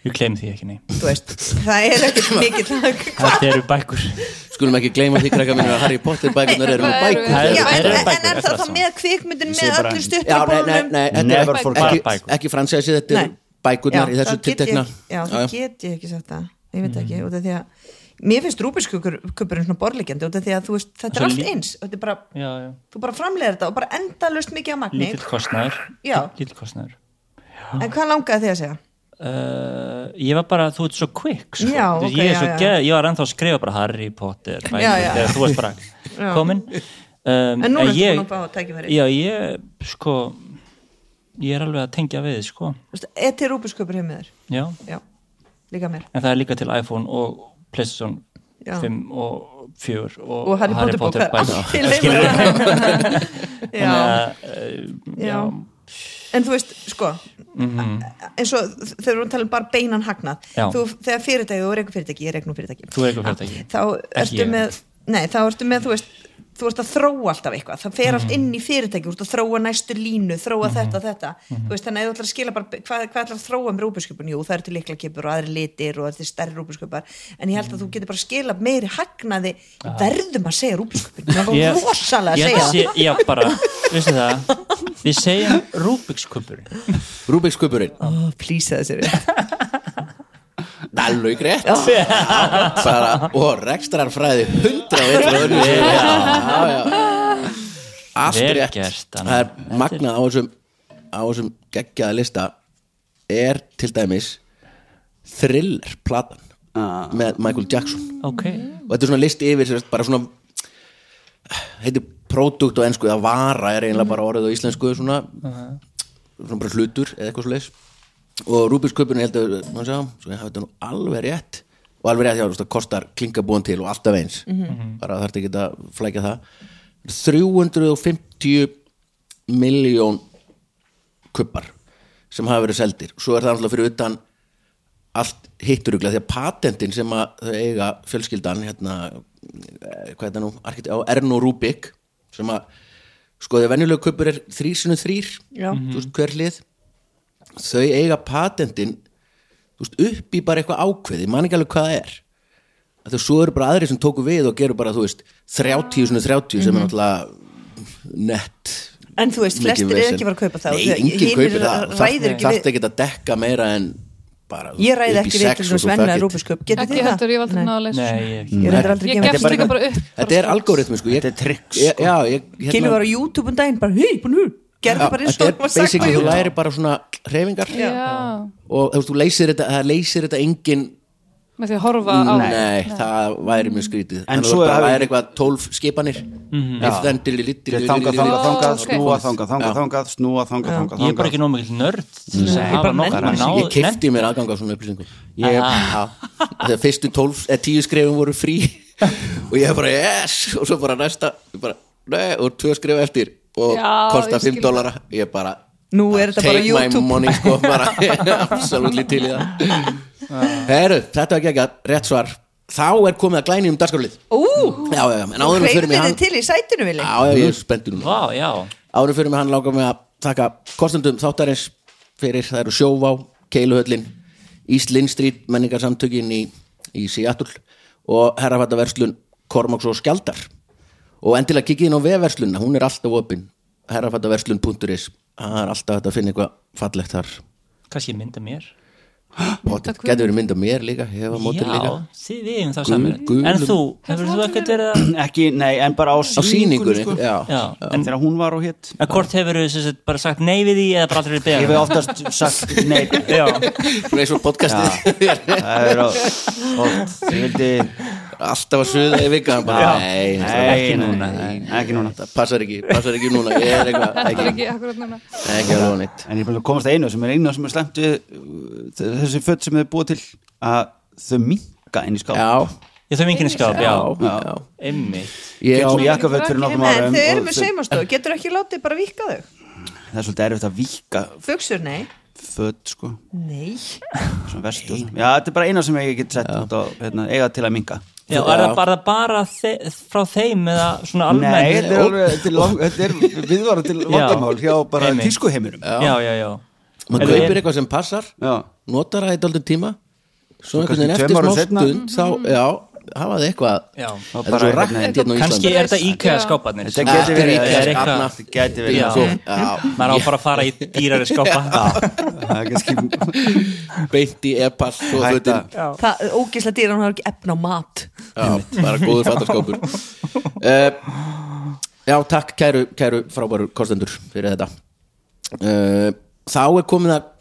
Ég klem því ekki, nei.
þú
(laughs)
veist, það er ekkert mikill hvað
Þetta eru bækur.
skulum ekki gleyma því krakka mínir að Harry Potter bækunar eru með
Það eru-
bækur
Það eru-
Já, en,
það eru
en,
bækur,
er
eftir
það
allt
þá
saman.
með kvikmyndin
Ég sé
með
bara-
öllu
Já, nei, nei,
stuttabólunum
nei, þetta er
Never
ekki,
forget
ekki,
bækur.
ekki fransæsi, þetta er
Nei.
bækurnar í
Já,
þessu
það get ég
tiltekna
ekki- já,
Já, Mm. já.
það get ég ekki sagt það ég veit ekki, út af því að mér finnst rúbiskupurinn svona borlegjandi út af því að þú veist, þetta er
Svo
allt
lí-
eins þetta er bara,
Já, já.
þú bara framleiðir þetta og bara endalaust mikið á magni
Lítill kostnæður.
Já.
Lítill kostnæður.
en hvað langaði þið að segja?
Uh, ég var bara, þú ert svo quick sko.
Já,
Þú veist,
ok,
ég, er
já,
svo
já.
geð, ég var ennþá að skrifa bara Harry Potter bækur,
(laughs) Já, já.
þegar þú varst
(laughs)
bara komin um,
En nú ertu
ég-
búin að fá tækifæri.
já, ég sko ég er alveg að tengja við sko.
Þú veist, E Þetta er rúbiskupur heim með þér
já.
já, líka mér
en það er líka til iPhone og Playstation
Já.
5 og 4 og,
og Harry Potter bókar (laughs) allt í
(laughs)
leifur já,
uh,
já
já, Mhm.
en þú veist, sko eins og þegar við erum að tala um bara beinan hagnað
Já.
þú, þegar fyrirtæki, þú er eitthvað fyrirtæki, ég er eitthvað fyrirtæki
Þú rekur fyrirtæki.
þá ertu
ég.
með, nei, þá ertu með þú veist, þú ert að þróa alltaf eitthvað það fer
Mhm.
allt inn í fyrirtæki, þú ert að þróa næstu línu þróa þetta, þetta
Mhm.
þú veist, þannig að ef þú ætlar að skila bara, hvað, hvað ætlar að þróa með rúbuskupun, jú, það eru til líklakipur og aðri litir og þetta er stærri rúbuskupar en ég held
Mhm.
að þú getur bara að skila meiri hagnaði Við verðum að segja rúbuskupun það var
Ég-
rosalega að
ég
segja
sé, já bara, veistu það við segjum Rubik's kubur
Rubik's kubburinn,
oh, please, það sér ég
alveg rétt bara, og rekstrarfræði hundra veit frá öðru. Já, já, já. allt
Vel
rétt
gert, Anna.
það er magnað á þessum á þessum geggjaða lista er til dæmis thriller platan
Ah.
með Michael Jackson
ok,
og þetta er svona listi yfir sem sagt, bara svona heitir produkt og ennsku eða vara er eiginlega bara orðið á íslensku svona, svona bara hlutur eða eitthvað svo leis og Rubik's Kubin ég held að má sjá, svo ég hafi þetta nú alveg rétt og alveg rétt hjá, þú veist, það kostar klingabúan til og alltaf eins, bara þarf ekki að flækja það 350 miljón kubbar sem hafa verið seldir svo er það alltaf fyrir utan allt hitturuglega því að patentin sem að þau eiga fjölskyldan hérna, eh, hvað er það nú, arkitekt, á Erno Rubik sem að sko því að venjulegu kuppur er þrísinu þrýr
Já.
veist, hver hlið þau eiga patentin þú veist, upp í bara eitthvað ákveði man ekki alveg hvað það er að þau svo eru bara aðri sem tóku við og geru bara þú veist 30 sinni 30 sem er náttúrulega nett
En þú veist,
mikið
flestir eru
vesen.
ekki að fara að kaupa það.
Nei,
Þeir-
enginn
hinir
kaupir það og
ræðir ekki
þarf
við-
ekki að dekka meira en bara
Ég ræði
upp í
ekki við
sex og
til þess
svo fuck
vennilega
it.
rúbuskjöp Getið
ekki
þið það?
heldur, ég var aldrei
Nei.
náða að lesa
nei,
svona.
ég
Ég reyndar aldrei
ég
að
gefst líka bara upp
þetta er algoritmi sko
Þetta er trikk, sko.
ég, já, ég, hérna,
Kynni var á YouTube um daginn bara, hei, búin hú Gerði bara eins
þetta
og
er basically
sko.
þú læri bara svona hreyfingar
já,
og þú veist, þú leysir þetta, það leysir þetta engin
með því að horfa á
nei, það væri mjög skrítið en
svo
þú bara
hafi-
væri eitthvað tólf skipanir if then dilly litty
Þangað, Mhm. þangað,
Ó,
þangað, þangað,
ok.
snúa, þangað, þangað, þangað, snúa, þangað, þangað,
ég er bara
þangað
ekki nóg mikil nörd til þess að hafa nokkuð
nenni
náð-
ég kefti mér aðgang á svona upplýsingum
Ég-
Já. þegar fyrstu tólf eða tíu skrefum voru frí og ég bara yes og svo bara næsta ég bara, nei, og tvö skref eftir og
Já,
kosta
ég
5
skil.
dólara ég bara
Nú er þetta bara
take my
YouTube
money
(laughs)
sko bara absolutely til í það Heru, þetta var ekki ekki rétt svar þá er komið að glæni um dagskarlið
Ú,
já, já, já, en áður en við
hreyfið
förum í
þið
hann já,
til í sætinu, Vili
já, ég er spenntur núna
Vá, já,
áður en við förum í hann langar mig að taka kostendum þáttarins fyrir það eru sjóvá, keiluhöllin East Lynn Street menningarsamtökin í, í Seattle og herrafættaverslun Kormáks og Skjaldar og endilega kikið inn á vefverslunna, hún er alltaf opin herrafættaverslun.is það er alltaf hægt að finna eitthvað fallegt þar
kannski mynda mér
Pottet getur verið mynd af mér líka, ég hefa mótur líka
Já, þið við hefum það
Gul-
saman
gulum-
En þú, hefur þú ekkert verið að
Ekki, nei, en bara á
Á
sýningunni
sýningunni,
sko.
já,
Já, en
Þegar hún var og hitt
en hvort hefur þú bara sagt nei við því eða bara aldrei
Ég
beðið
hef oftast sagt (laughs) nei
Já,
Svona eins og podcastið (laughs)
Það er of- oft Ég vildi
Alltaf að suða í vika hann bara, nei,
Nei,
Ekki núna,
nei, Ekki núna
það passar ekki, passar ekki núna Ég er eitthvað,
þetta er
ekki,
ekki akkurat núna
ekki alveg neitt
En ég er bara að komast að einu sem er einu sem er slemt við uh, þessi fött sem þau búið til að þau minka inn í skáp
Já,
ég þau minginni skáp, já
já, já.
Einmitt,
Ég
Ég á
á
jakkafött fyrir nokkrum
En
árum
þau eru
og
með
þau-
saumastofu, getur ekki látið bara vika þau
Það er svolítið erfitt að vika
Fugsur, nei
fött sko
Nei,
svona vestu og svona. Já, þetta er bara eina sem ég get sett út á hérna, eiga til að minka
já, er það bara, bara þe frá þeim eða svona
Nei,
almennt
þetta er, alveg, þetta er, lang- þetta er viðvara til vandamál hjá bara
einmitt.
tískuheiminum
Já, já, já
maður kaupir eitthvað sem passar
Já,
notar það í daldum tíma svo einhvern veginn
kannski tveim
eftir smá
árum seinna.
stund þá, já, hafa þið eitthvað
Já.
þetta er svo
Bara
rætt
einhvern
hérna á
kannski
Íslandi
er þetta IKEA skáparnir
Þetta
sko.
geti
Það
verið
er
IKEA
eitthvað-
skáparnar, geti verið
Já.
Svo- já,
maður á bara að fara í dýrari skápa
það er kannski
beint í e-pass og þú veit,
hætta
það er ógislega dýr hann har ekki efna á mat
já, bara góður fattarskópur uh, já, takk kæru, kæru frábæru kostendur fyrir þetta uh, þá er komið að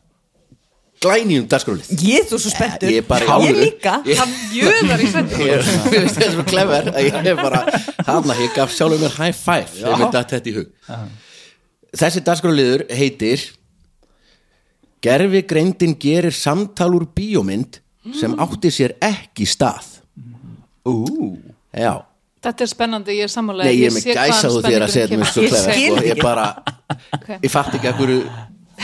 glænýjum dagskrálið
ég er þú svo spenntur,
Ég er bara í
ég
alvöru.
líka
(laughs) Ég-
hann jöðar í svendur
Ég er svo clever að ég er bara hana, ég gaf sjálfum mér high five þegar mér datt þetta í hug þessi dagskráliður heitir Gerfi greindin gerir samtal úr bíómynd sem átti sér ekki stað
ú,
já,
þetta er spennandi, ég er sammálega
nei ég er með gæsa þú þér að segja þetta mér svo
Ég skil
clever og ég
ekki.
bara,
Ok.
ég fatt ekki að hverju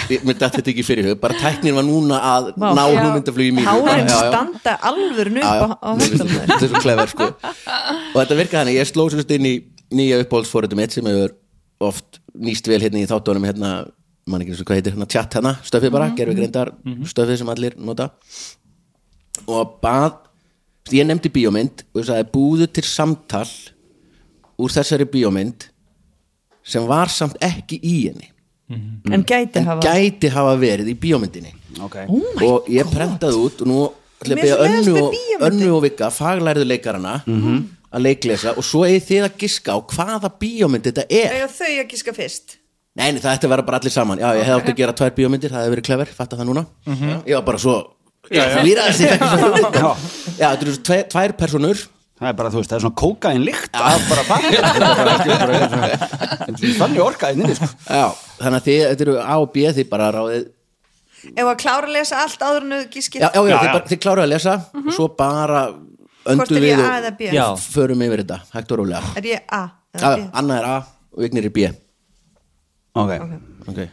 ég- mér datt þetta ekki fyrir í hug bara tæknir var núna að ná hugmyndaflugi mínu
hárin
Já, já.
standa alvöru
Já, já,
upp á, á
mér finnst
höndunum
þetta þetta er svo klefar
(laughs)
sko og þetta virkaði þannig, ég sló sérst inn í nýja uppáhaldsfóritum mitt sem hefur oft nýst vel hérna í þáttunum hérna, mann ekki eins og hvað heitir hérna, chat hana stöfið
Mhm.
bara, gerfi greindar, stöfið sem allir nota og bað ég nefndi bíómynd og ég sagði búðu til samtal úr þessari bíómynd sem var samt ekki í henni Mm.
en gæti hafa Oh
gæti hafa verið í bíómyndinni
ok
og ég prentaði út og nú ætla ég
Mér
að beða
finnst með
önnu, og-
bíómyndir.
önnu og vika faglærðu leikarana
Mhm.
að leiklesa og svo eigið þið að giska á hvaða bíómynd þetta er
eiga þau að giska fyrst
nei, nei, það ætti að vera bara allir saman já, ég hefði átt að gera tvær bíómyndir, það hefði verið klefur fatta það núna, ég var bara svo výraðist ég
(laughs)
fekk svo
Mhm. Já.
já, þetta eru tvær, tvær personur
það er bara, þú veist, það er svona kókain líkt það er bara bara þannig orkaðin inni, sko
já, þannig að þið, þetta eru A og B þið bara ráðið
ef að klára að lesa allt áður en þau giskir
já, já, já, þið, bara, þið kláruðu að lesa og svo bara
Mhm. hvort
öndu
er
við
ég A eða
og
B
Já.
förum yfir þetta, hægt og rólega
er ég A eða
Já,
B
Anna er A og Vignir er B
ok,
okay.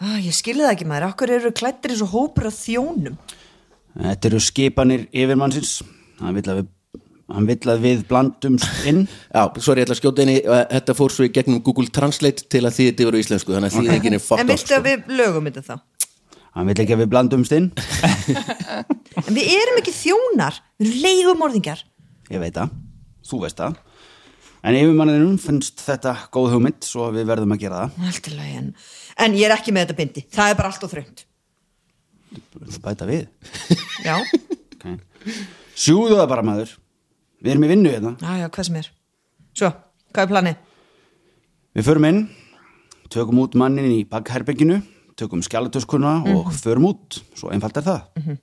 Ah, ég skilði það ekki maður, akkur eru klættir eins og hópur af þjónum
þetta eru skipanir yfirmannsins hann vill að við hann vill að við blandumst inn
Já, sorry, ég ætla að skjóta inn í uh, þetta fór svo í gegnum Google Translate til að þýði þetta yfir á íslensku þannig að þýðingin er
en
fucked up
viltu
sko.
að við lögum þetta þá
hann vill ekki að við blandumst inn
en við erum ekki þjónar, við erum leigumorðingar
ég veit það, þú veist það en yfirmanninum finnst þetta góð hugmynd svo við verðum að gera
Allt í lagi, en- en ég er ekki með þetta bindi það er bara allt og þröngt
það bæta við
já,
okay. sjúðu það bara maður við erum í vinnu hérna
já, já, hvað sem er svo, hvað er planið?
Við förum inn, tökum út mannin í bakherbygginu, tökum skjálatöskuna
Mhm.
og förum út, svo einfalt er það.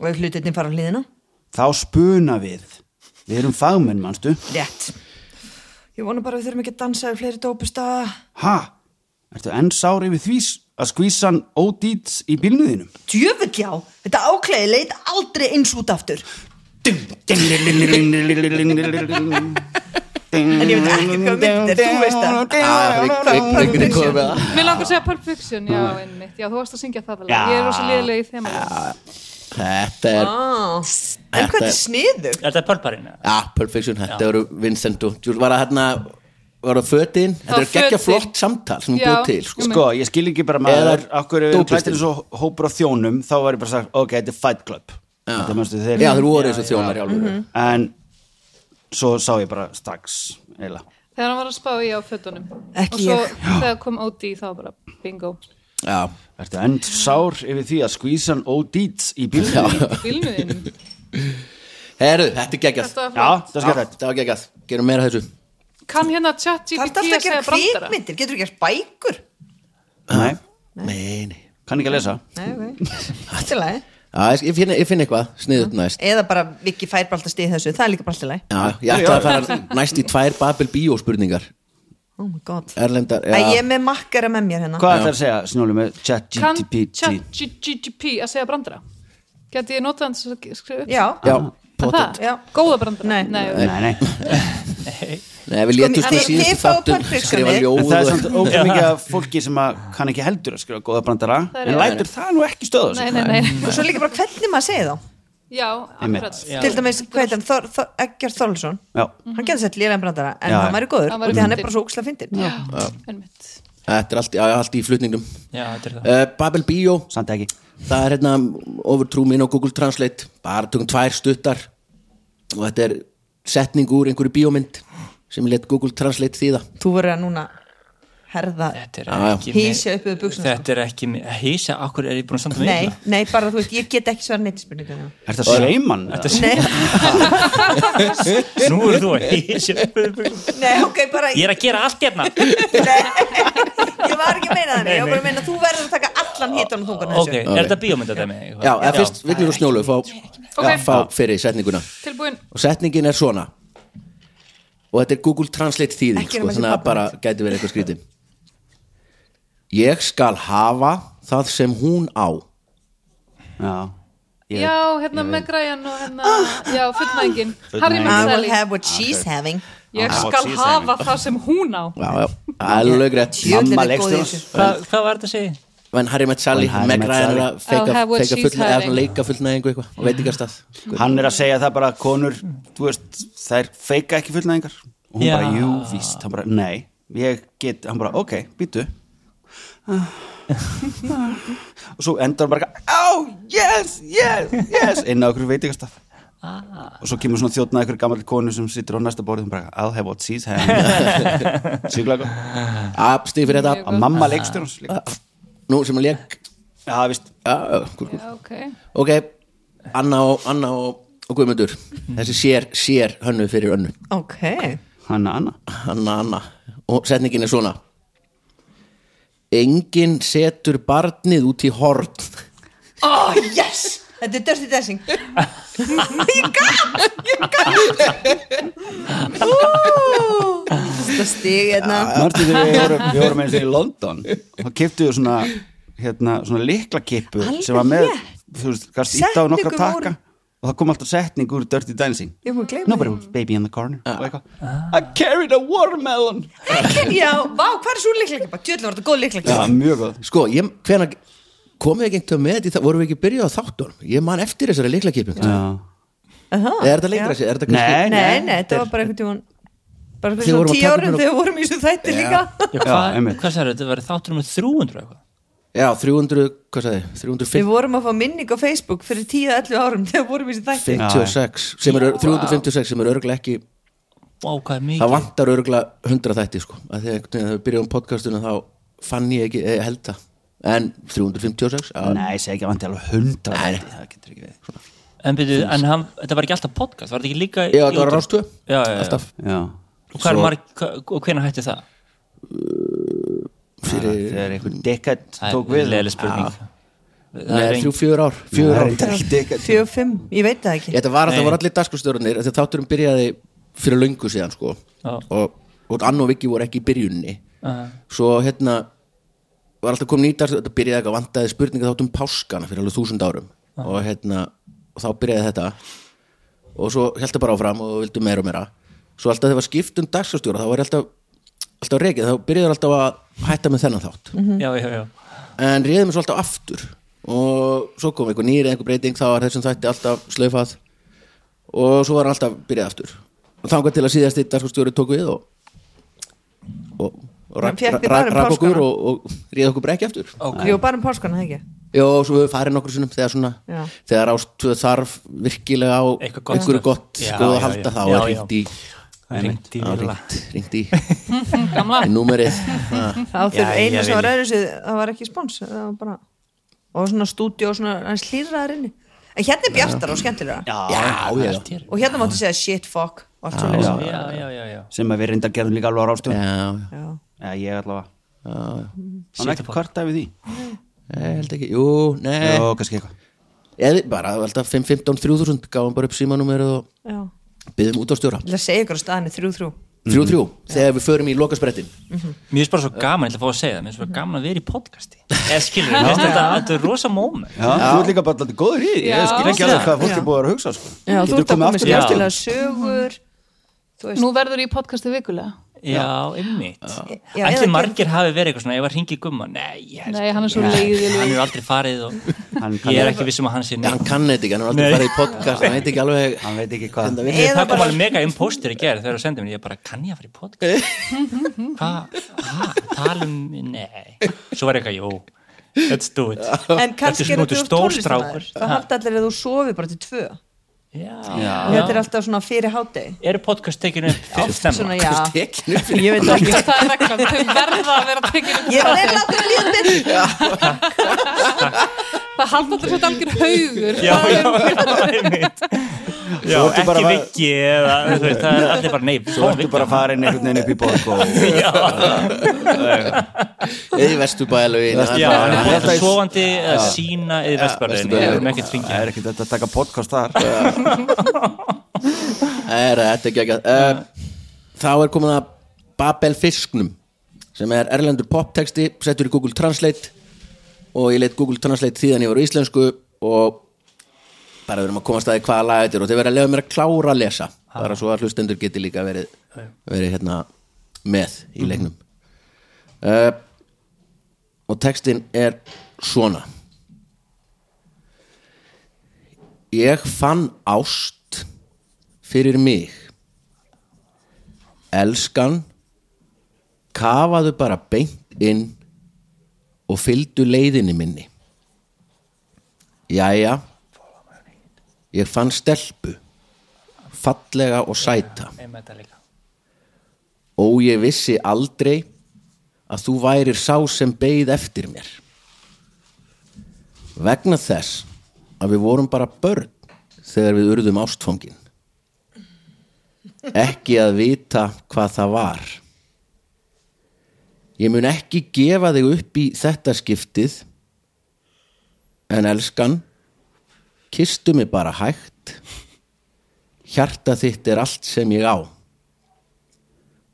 og ef hlutinni fara á hliðina?
Þá spuna við, við erum fagmenn, manstu.
rétt ég vona bara að við þurfum ekki að dansa við fleiri dópustaða
Ha, ertu enn sári við því s- að skvísan ódýts í bílnuðinum?
djöfull já, þetta áklæði leit aldrei eins út aftur
En
ég veit ekki hvað mynd er, þú veist það.
Já, Vignir er komið með það
mér langar að segja Pulp Fiction, já, einmitt já, þú varst að syngja það alveg, ég er rosa liðlega í þeim
Þetta er,
ah. en
Þetta
hvað
er-
þetta er sniðug?
er þetta pölparinn?
já, Perfection, þetta eru Vincent og Júl var að hérna var að fötin, þetta er
var
geggja
fötin.
flott samtal sem hún
Já.
búið til sko.
Sko, ég skil ekki bara maður,
Eða
akkur ef við erum
dópistin.
klættir eins og hópur á þjónum, þá var ég bara sagt, ok, þetta er Fight Club. Þetta manstu þeir.
Já, þeir voru eins og þjónar í alvöru
Mhm. En svo sá ég bara strax, eiginlega.
þegar hann var að spá í á fötunum
Ekki
og svo
ég.
þegar kom Ódi þá bara bingo
Já,
Ertu enn sár yfir því að skvísan ódýts í bílnum?
já,
bílnuðin,
herru, þetta er geggjað
þetta var
Já,
flott
það skal þetta.
þetta var geggjað, gerum meira af þessu
kann hérna chat
það
GPT
er alltaf
að
að gera
segja brandara
kvikmyndir, getur þú gert bækur?
Nei,
Nei, nei
kann ekki að lesa.
Nei, (laughs) ok, allt í lagi
Já, ég- ég finn, ég finn eitthvað, sniðut næst
eða bara Viki fær bara alltaf stíð þessu, það er líka bara allt í lagi
Já, ég ætla að fara næst í tvær Babel bíóspurningar
oh my god,
Erlendar,
Æ, ég
já,
er með makkara með mér hérna
Hvað ætlar að segja, snjólu með chat
kann
GTPT?
chat GPT að segja brandara geti ég notað hans að skrifa upp
já,
já
Ah,
Er
pottet.
það,
Já.
góða brandara
Nei.
Nei.
Nei, nei,
Nei, við létum sko
Sko, mér-
síðustu
þið fáið
þáttum
pöntuð,
skrifa
sko,
ljóð
en það er samt
og-
ótrúlega mikið af fólki sem að kann ekki heldur að skrifa góða brandara
Það er
en
rétt.
lætur það nú ekki stöða
Nei,
sig
nei,
(laughs)
nei.
og svo líka bara hvernig maður segi þá
já, akkurat
til dæmis, hvað heitir hann, Þor, Þor, Eggjart Þorlsson
Já,
hann getur sett lélega brandara en
Já, já.
hann væri góður,
Hann
Mhm. hann
væri
því hann er
fyndinn.
bara svo úkslega fyndin
Já, einmitt.
Þetta er allt, já, allt í flutningnum
Já, þetta er það.
uh, Babel Bio,
samt ekki
það er hérna overtrú minn á Google Translate bara tökum tvær stuttar og þetta er setning úr einhverju bíómynd sem ég let Google Translate þýða
Þú verður að núna herða
Þetta er
Já, já.
ekki
Hysja upp við buxurnar,
Þetta er ekki með Hísja, okkur er ég búin að standa með
Nei,
ykkur?
nei, bara þú veist, ég get ekki svara neitt spurningunum
Er þetta sleiman?
(laughs) Nei,
Nú eru þú að hísja
nei, ok, bara
(laughs) Ég er að gera allt hérna
(laughs) Ég var ekki að meina þannig, ég var bara að meina að þú verður að taka allan hitan og þungan
Ok, er
þessu
þetta bíómyndadæmi?
Já, eða fyrst Vignur og Snjólu fá,
Ok.
fá fyrir setninguna
Tilbúin
og setningin er svona og þetta er Google Translate þýðing
Ekki
sko,
nema
þannig
til
að bara gæti verið eitthvað skrítið Ég skal hafa það sem hún á
Já, Ég- Ah.
Já, hérna með græjan og hérna Já, fullnægin
Fullnægingin.
Harry
I will
Mansali
have what she's having
Ég skal
she's
hafa það sem hún á
Já, já, alveg rétt
Djöfull
Mamma
er ég góð í
leikstjórans.
þessu.
Hvað hvað var þetta að segja?
When Harry Met Sally,
When Harry
Meg
Met
Ryan er
Sally.
að feika,
I'll have what
feika
she's
fullnæðingu
having.
leika fullnæðingu eitthvað, og veitingastað
hann er að segja það bara að konur, þú veist, þær feika ekki fullnæðingar og hún
Já.
bara, jú, víst, hann bara, nei ég get, hann bara, ok, býtu (laughs) og svo endar hann bara eitthvað, oh, yes, yes, yes inn á okkur veitingastaf og svo kemur svona þjóttnað ykkur gammal konu sem situr á næsta borðið og hún bara, I'll have what she's having síkulega gott
Ab, stíð fyrir þetta,
að mamma leikstjórn hans líka
nú sem að leik
já, víst,
Já, já, kúl, kúl.
Já, ok
Ok, Anna og, Anna og, og Guðmundur Þessi sér, sér hönnu fyrir önnu
Ok,
hanna, anna
Anna, Anna Og setningin er svona Engin setur barnið út í horn
oh yes Þetta er Dirty Dancing Ég gaf, ég gaf Það stig hérna
Marti, þegar við vorum, við vorum eins og í London þá kiptuðu svona, hérna, svona liklakippu
Alveg
sem var með
rétt.
þú veist, gast ítt á nokkra
Setningu
taka
voru-
og það kom alltaf setning úr Dirty Dancing
Ég múið gleyma
Nobody was baby in the corner og eitthvað I carried a watermelon
því (laughs) Já, vá, hvað er svo líkleikleik? Djöðlega var þetta góð
Það
líkleikleik
var mjög góð
Sko, ég, hvenær komið ekki einhvern með þetta í það, vorum við ekki byrjað á þáttunum ég man eftir þessari leiklakipin
Já.
er þetta leikra sér, er þetta
Nei,
Nei, nei, þetta var bara einhvern tímann Bara
Þið
fyrir svona
vorum að
tíu
taka
árum
upp-
þegar við vorum í þessu þætti líka
Já,
Já,
Hvað
einmitt.
hvað sagði þetta? Var þáttur um 300 eitthvað?
já, 300, hvað sagði, ég?
Við vorum að fá minning á Facebook fyrir 10-11 árum þegar við vorum í þessu þætti
356 sem er, 356 sem er örgulega ekki
Vá, hvað er
það
mikið?
vantar örgulega 100 þætti sko, að því að einhvern veginn þegar við byrjum podcastuna þá fann ég ekki, eh, held það en 356 að,
Nei, ég segi ekki að vanti alveg hundra það getur ekki við
En, byrju, en hann, þetta var ekki alltaf podcast, var þetta ekki líka
já, það var rástu
Já, já, já.
alltaf
Já,
Og hvað er
Svo-
marg, hva- og hvenær hætti það?
fyrir,
þegar einhver dekad
Það er
tók við
leiðileg spurning Það er
nei,
ein-
þrjú, fjör ár fjör ár,
Dekad
45, ég veit það ekki
þetta var að
Nei.
það voru allir dagskustörunir þegar þátturum byrjaði fyrir löngu síðan sko,
Já.
og, og Ann og Viki voru ekki í byrjunni
Aha.
svo hérna var alltaf komin í dag, þetta byrjaði eitthvað vandaði spurninga þátt um páskana fyrir alveg þúsund árum og hérna, og þá byrjaði þetta og svo held það bara áfram og vildu meira og meira svo alltaf þegar var skipt um dagskrástjóra þá var alltaf, alltaf rekið, þá byrjaði alltaf að hætta með þennan þátt
Mhm.
Já, já, já
en réði mig svo alltaf aftur og svo kom einhver nýri einhver breyting þá var þessum þætti alltaf slaufað og svo var hann alltaf byrjað aftur og þangað til að síðast í dagskostjóri tók við og og, og
Hann fékk þig bara um
rakk okkur
páskana.
og, og réði okkur brekki aftur
Jú, bara um páskana, það ekki
Já, og svo við farið nokkur sinnum þegar svona
Já.
þegar ástuð þarf virkilega á
Eitthvað gott
einhverju
stöf.
gott
Já,
skoð að
já,
halda
já.
þá
Já,
er
já.
hringt í,
Ringt í
á,
Vila
hringt, hringt
(laughs)
í í
(laughs)
númerið Ah.
Þá þurr
Já,
einu
ég
sem var
veit.
öðru sig, það var ekki spons það var bara, og svona stúdíu og svona hans hlýrraðar inni en hérna er bjartar og skemmtilega
Já, já, já,
Þér.
og hérna máttu segja shit, fuck og allt svona
Já, já, já, já
sem að við reyndar gerðum líka alveg á ráðstöðum
já.
Já, ég allavega
já.
Hann er ekkert kvartað við því Eh.
Nei, held ekki, jú, nei
Jó, kannski eitthvað
eða bara það var alltaf 5, 15, 3000 gáðum bara upp símanúmerið og
Já.
byggðum út á stjóra
Ég ætla að segja ykkur á staðinni 3-3
3-3,
Mm.
þegar við förum í lokasprettin
Mér finnst bara svo gaman, ég ætla að fá að segja það Mér finnst bara gaman að vera í (laughs) podcasti Eða skilur, mér finnst þetta, þetta er rosa moment
Já, þú ert líka bara alltaf góður í því
Já.
Ég skil ekki alveg hvað fólk er búið að vera að hugsa sko.
Já, þú
Getur
ert að
komið
koma með
aftur
Já.
í
skemmtilega sögur
Nú verður í podcasti vikulega
Já, einmitt
Já,
Ætli
eða-
margir hafi verið eitthvað svona, ef að ringi gumma Nei, ég held-
Nei, hann er svo
Nei,
leiðilegur.
Hann er aldrei farið og
Hann kann-
ég er ekki vissum að hann sé
Nei,
neitt
hann kann þetta ekki, hann er aldrei farið í podcast hann veit ekki alveg
hann veit ekki hvað
Þetta
Eða
Það kom
bara,
alveg mega impostur í gerð þegar þú sendið mér, ég bara, kann ég að fara í podcast? Hvað? Ha? Talum, nei Svo var ég eitthvað, jú, let's do it
en kannski
Þetta er svona
er þetta úr tónlistamaður
stórstrákur.
það haldi allir að þú sofi bara til tvö
Já,
þetta er
já
alltaf svona fyrir hádegi
Eru podcast tekinu fyrir
svona,
stemma? (laughs)
já,
tekinu fyrir
ég veit ekki
það er reglan, þau verða að vera tekin
ég er að láta líða til
það halda allir svolítið algjör haugur
Já, já, (laughs) já, einmitt Já,
ertu bara
ekki
að-
viki eða, þú veist, það er allir bara, nei,
svo ertu bara að fara inn einhvern veginn upp í bók (laughs) og
eða í vesturbæðalögin
Já, hann er búin
þetta
að
í-
sofandi eða sína eða vestbarðinni,
Vesturbæjarleginni.
við erum ekkert
það
fengið
er ekkert hægt að taka podcast þar
er þetta ekki ekki uh, þá er komin að Babel Fisknum sem er erlendur poptexti settur í Google Translate og ég leitt Google Translate þýðan ég var á íslensku og bara við erum að komast að því hvaða lag þetta er og þið verður að lefa mér að klára að lesa bara svo að hlustendur geti líka verið, verið hérna með í leiknum uh, og textin er svona Ég fann ást fyrir mig Elskan kafaðu bara beint inn og fylgdu leiðinni minni Jæja Ég fann stelpu fallega og sæta
Einmitt að líka.
og ég vissi aldrei að þú værir sá sem beið eftir mér vegna þess að við vorum bara börn þegar við urðum ástfóngin ekki að vita hvað það var ég mun ekki gefa þig upp í þetta skiptið en elskan kistu mig bara hægt hjarta þitt er allt sem ég á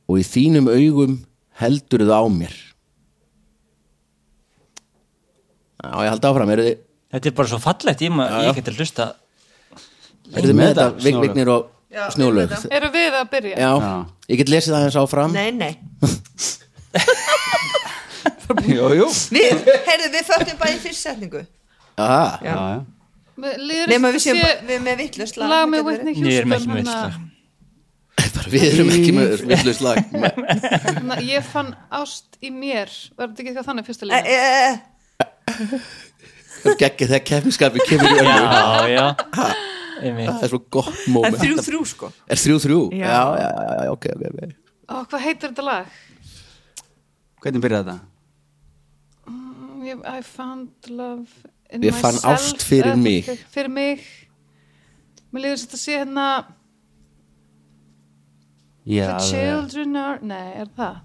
og í þínum augum heldur það á mér Já, ég held áfram, eru þið,
Þetta er bara svo fallegt, ég, ma- ég geti hlusta
eru þið með þetta
Snjólaug.
vikvignir og snjólög Já,
eru við að byrja?
ég get lesið aðeins áfram
nei, nei,
jú, jú.
við, heyrðu, við föttum bara í fyrst setningu
Aha,
Já, já.
nema
nema
við séum bara- við með vittlust
lag með Whitney
Ég er
Houston hérna.
með ekki með
hana-
veistlag
(laughs) bara við erum ekki með villust lag Me-
Na, Hérna, ég fann ást í mér var þetta ekki eitthvað þannig fyrsta lína?
Whitney
geggi þegar kefniskapi kemur í önnu
Já, já Einmitt.
það er svo gott moment
þrjú þrjú sko
er þrjú þrjú?
Já.
Já, já, já, já, ok, ok, ok
Ó, hvað heitir þetta lag?
hvernig byrjaði þetta?
Mm, ég- I found love in
Ég fann
myself.
ást fyrir
Eh,
mig.
fyrir mig mér líður þetta að sé hérna
Já,
the children are, nei, er það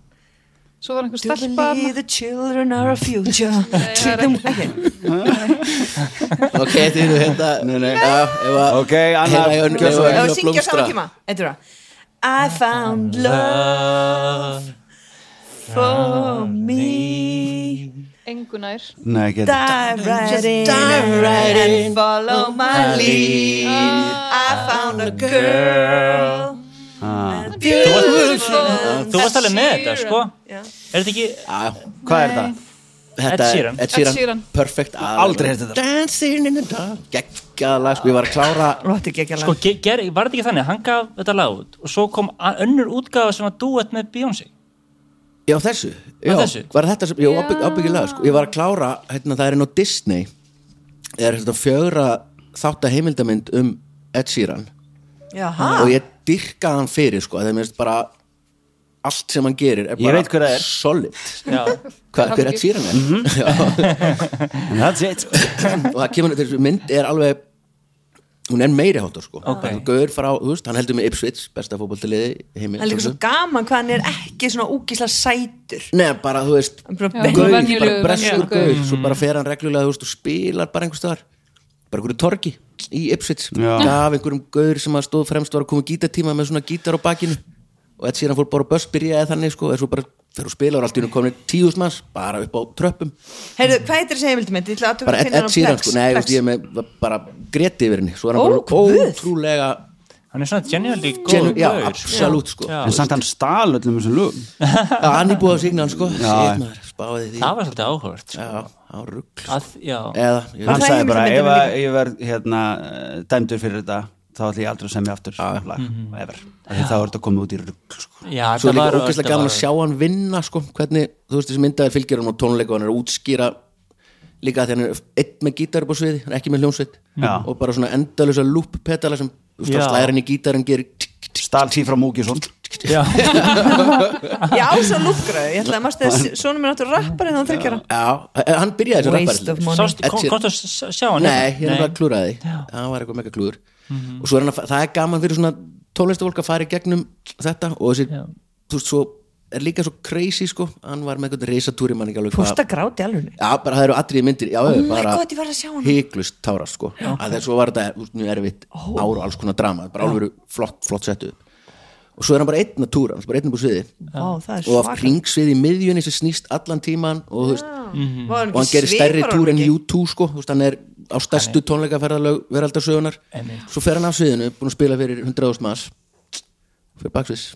svo var einhver
Do
stelpa
believe the children are our
(laughs)
future Treat them well
ok, þið eru hérna nei, nei. Já, ef að
ok, annar
Heyra í önnu-
gjörðu svo
Ef
Það
að
var syngja á
blómstra.
saman tíma Þetta er það I found love for me
engunær
Nei, ekki þetta.
Dive right in and follow my lead
Ah,
I found a girl and beautiful
Þú varst alveg með þetta, sko
Já.
Er þetta ekki,
Já,
hvað er það?
þetta
Ed
er
Sheeran.
Ed Sheeran,
Ed Sheeran.
perfect
Aldrei heyrt þetta.
Dancing in the dark geggjað lag, sko, ég var að klára
Rótti ekki
sko, ge- ger, var þetta ekki þannig Hann gaf þetta lag út og svo kom a- önnur útgáfa sem var duett með Beyoncé
Já, þessu, já,
þessu?
var þetta sem, já, ábygg- ábyggilega, sko, ég var að klára, hérna, það er inn á Disney, er hérna, þetta fjögra þátt að heimildamind um Ed Sheeran
Ah.
Jaha
og ég dyrkaði hann fyrir, sko, þegar mér finnst bara allt sem hann gerir er
Ég veit hver
bara
það er. Mhm.
solid,
Já,
hvað, hver Ed Sheeran er, já,
And That's it
og það kemur, þessi mynd er alveg, hún er meiri hátur, sko,
Ok.
Bara gaur frá, þú veist, hann heldur með Ipswich, besta fótboltaliði í heimi,
Það er líka svo gaman hvað hann er ekki svona úkísla sætur
Nei, bara, þú veist,
Hann er bara
Já.
gauð,
Venjulegur,
bara breskur
venjulegur
gauð
Mm.
svo bara fer hann reglulega þú veist, og spilar bara einhvers staðar bara einhverju torgi í Ipswich
Já.
gaf einhverjum gauður sem að stóð fremst var að koma í gítartíma með svona gítar á bakinu og þetta síðan fór bara á börs byrjaði þannig sko, er svo bara fyrir að spila og allt í hún komin tíðus manns bara upp á tröppum
Heyrðu, hvað heitir þessi heimildmynd? Ég ætla að
bara
athuga að
Ed,
finna
Ed
hana á
Sheeran
Plex.
sko, nei, þú
Plex.
veist, ég er með bara greti yfir henni svo er hann
Ó,
bara
guð.
ótrúlega
hann er svona genuinely góð
Genu- já,
gaur,
absolutt, sko.
Já,
en samt hann stal öllum þessum lögum
Já, hann er búið að signa hann sko Sér maður, spáði því
það var svolítið áhört sko.
Já, á rugg
að, já,
Eða, ég
hann
veit
sagði bara
heimildarmyndin
ef
líka.
að ég verð hérna, eh, dæmdur fyrir þetta þá ætlum ég aldrei að semja aftur lag,
Mhm.
ever, Af því þá er þetta komið út í rugg sko.
já
Svo
þetta
er líka
var-
ógeðslega
þetta
gaman
var-
að sjá hann vinna sko Hvernig, þú veist þessi myndaði fylgjur hann á tónleika og Hann er að útskýra líka að því hann er einn með gítar upp á sviði Hann er ekki með hljónsveit
Já.
Og bara svona endalösa loop pedala sem þú veist,
Já.
þá slæðir hann í gítar Hann gerir tík, tík,
stal því frá Múkisson
já,
Ég á svo lúfgraðu, ég ætlaði að mást þess Svona mér áttur rappari þannig að þryggjara
Já, Eh, hann byrjaði þessi
Waste of
rappar
money
sástu, kom,
Ed Sheeran.
komstu að s- sjá hann hérna?
Nei, ég er bara
Nei.
að klúra því Það var eitthvað mega klúður
Mhm.
Og svo er hann að, það er gaman fyrir svona tólestafólk að fara í gegnum þetta Og þessi, þú veist, svo er líka svo crazy sko Hann var með eitthvað reisatúri, mann ekki alveg hvað-
Pústa gráti alveg
Já, bara það eru atrið myndir Já, oh
my
bara
God, ég verð að sjá hana.
hiklaust tára sko að þess svo var þetta út mjög erfitt
Oh.
ár og alls konar drama bara alveg flott, flott settu og svo er hann bara einn að túra, hann er bara einn upp á sviði
Vá, það er
og af
svaka
kringsviði í miðjunni sem snýst allan tíman og, þú veist,
Mhm.
Var hann
og hann
ekki
gerir stærri
svipar
túr en
honum ekki?
U2 sko, þú veist, hann er á stærstu tónleikaferðalög veraldarsögunar svo fer hann af sviðinu, búin að spila fyrir 100.000 mass fyrir baksvis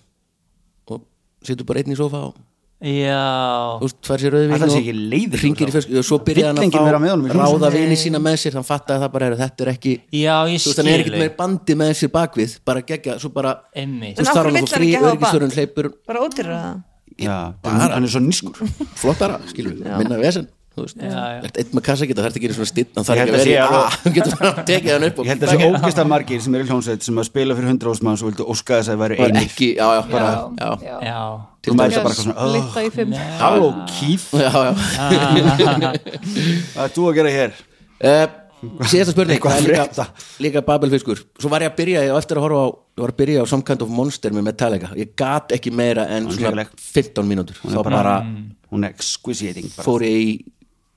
og situr bara einn í sofa og
já,
þú veist, tvær sér rauðvín
Ætli hann sé ekki leiður
hringir
þá?
í fjölskyldu og svo byrja
Vill
hann að
enginn vera með honum í
fá
hljómsveit?
ráða vini sína með sér þann fatta að það bara er þetta er ekki
já, ég
þú veist, hann er
skil
ekkert með bandi með sér bakvið bara gegja, svo bara
Einmitt.
þú
En
veist, þarf
af hverju
hann að
vill
fá
hann
frí
ekki hafa
öryggisvörun
band?
hleypur
Bara ódýrra það
Já, hann hann er svo nýskur
flottara, skilur við, minna vesen þú veist, ert einn með kassa geta, það ert ekki einu svona stinn hann
Ég
þarf
held
ekki að
að sé
vera í
alveg-
að þú getur bara að tekið hann upp
ég
og
held að þessi ógeðslega margir sem eru í hljómsveit sem að spila fyrir 100 ósmann og vildu óska þess að það væri
bara
einir
ekki, já, já, bara já,
já.
já,
þú mæta bara eitthvað svona "Oh,
Litta í fimm
Halló Keith,
já,
(laughs)
já
hvað er þú að gera hér?
Eh, síðasta spurning
Eitthvað
það er
að frétta.
líka, líka Babelfiskur svo var ég að byrja, ég var eftir að horfa á ég var að byrja á Some Kind of Monster með Metallica ég gat ekki meira en svona
hrikalegt.
15 mínútur þá bara,
hún er exquisiting bara.
fór ég í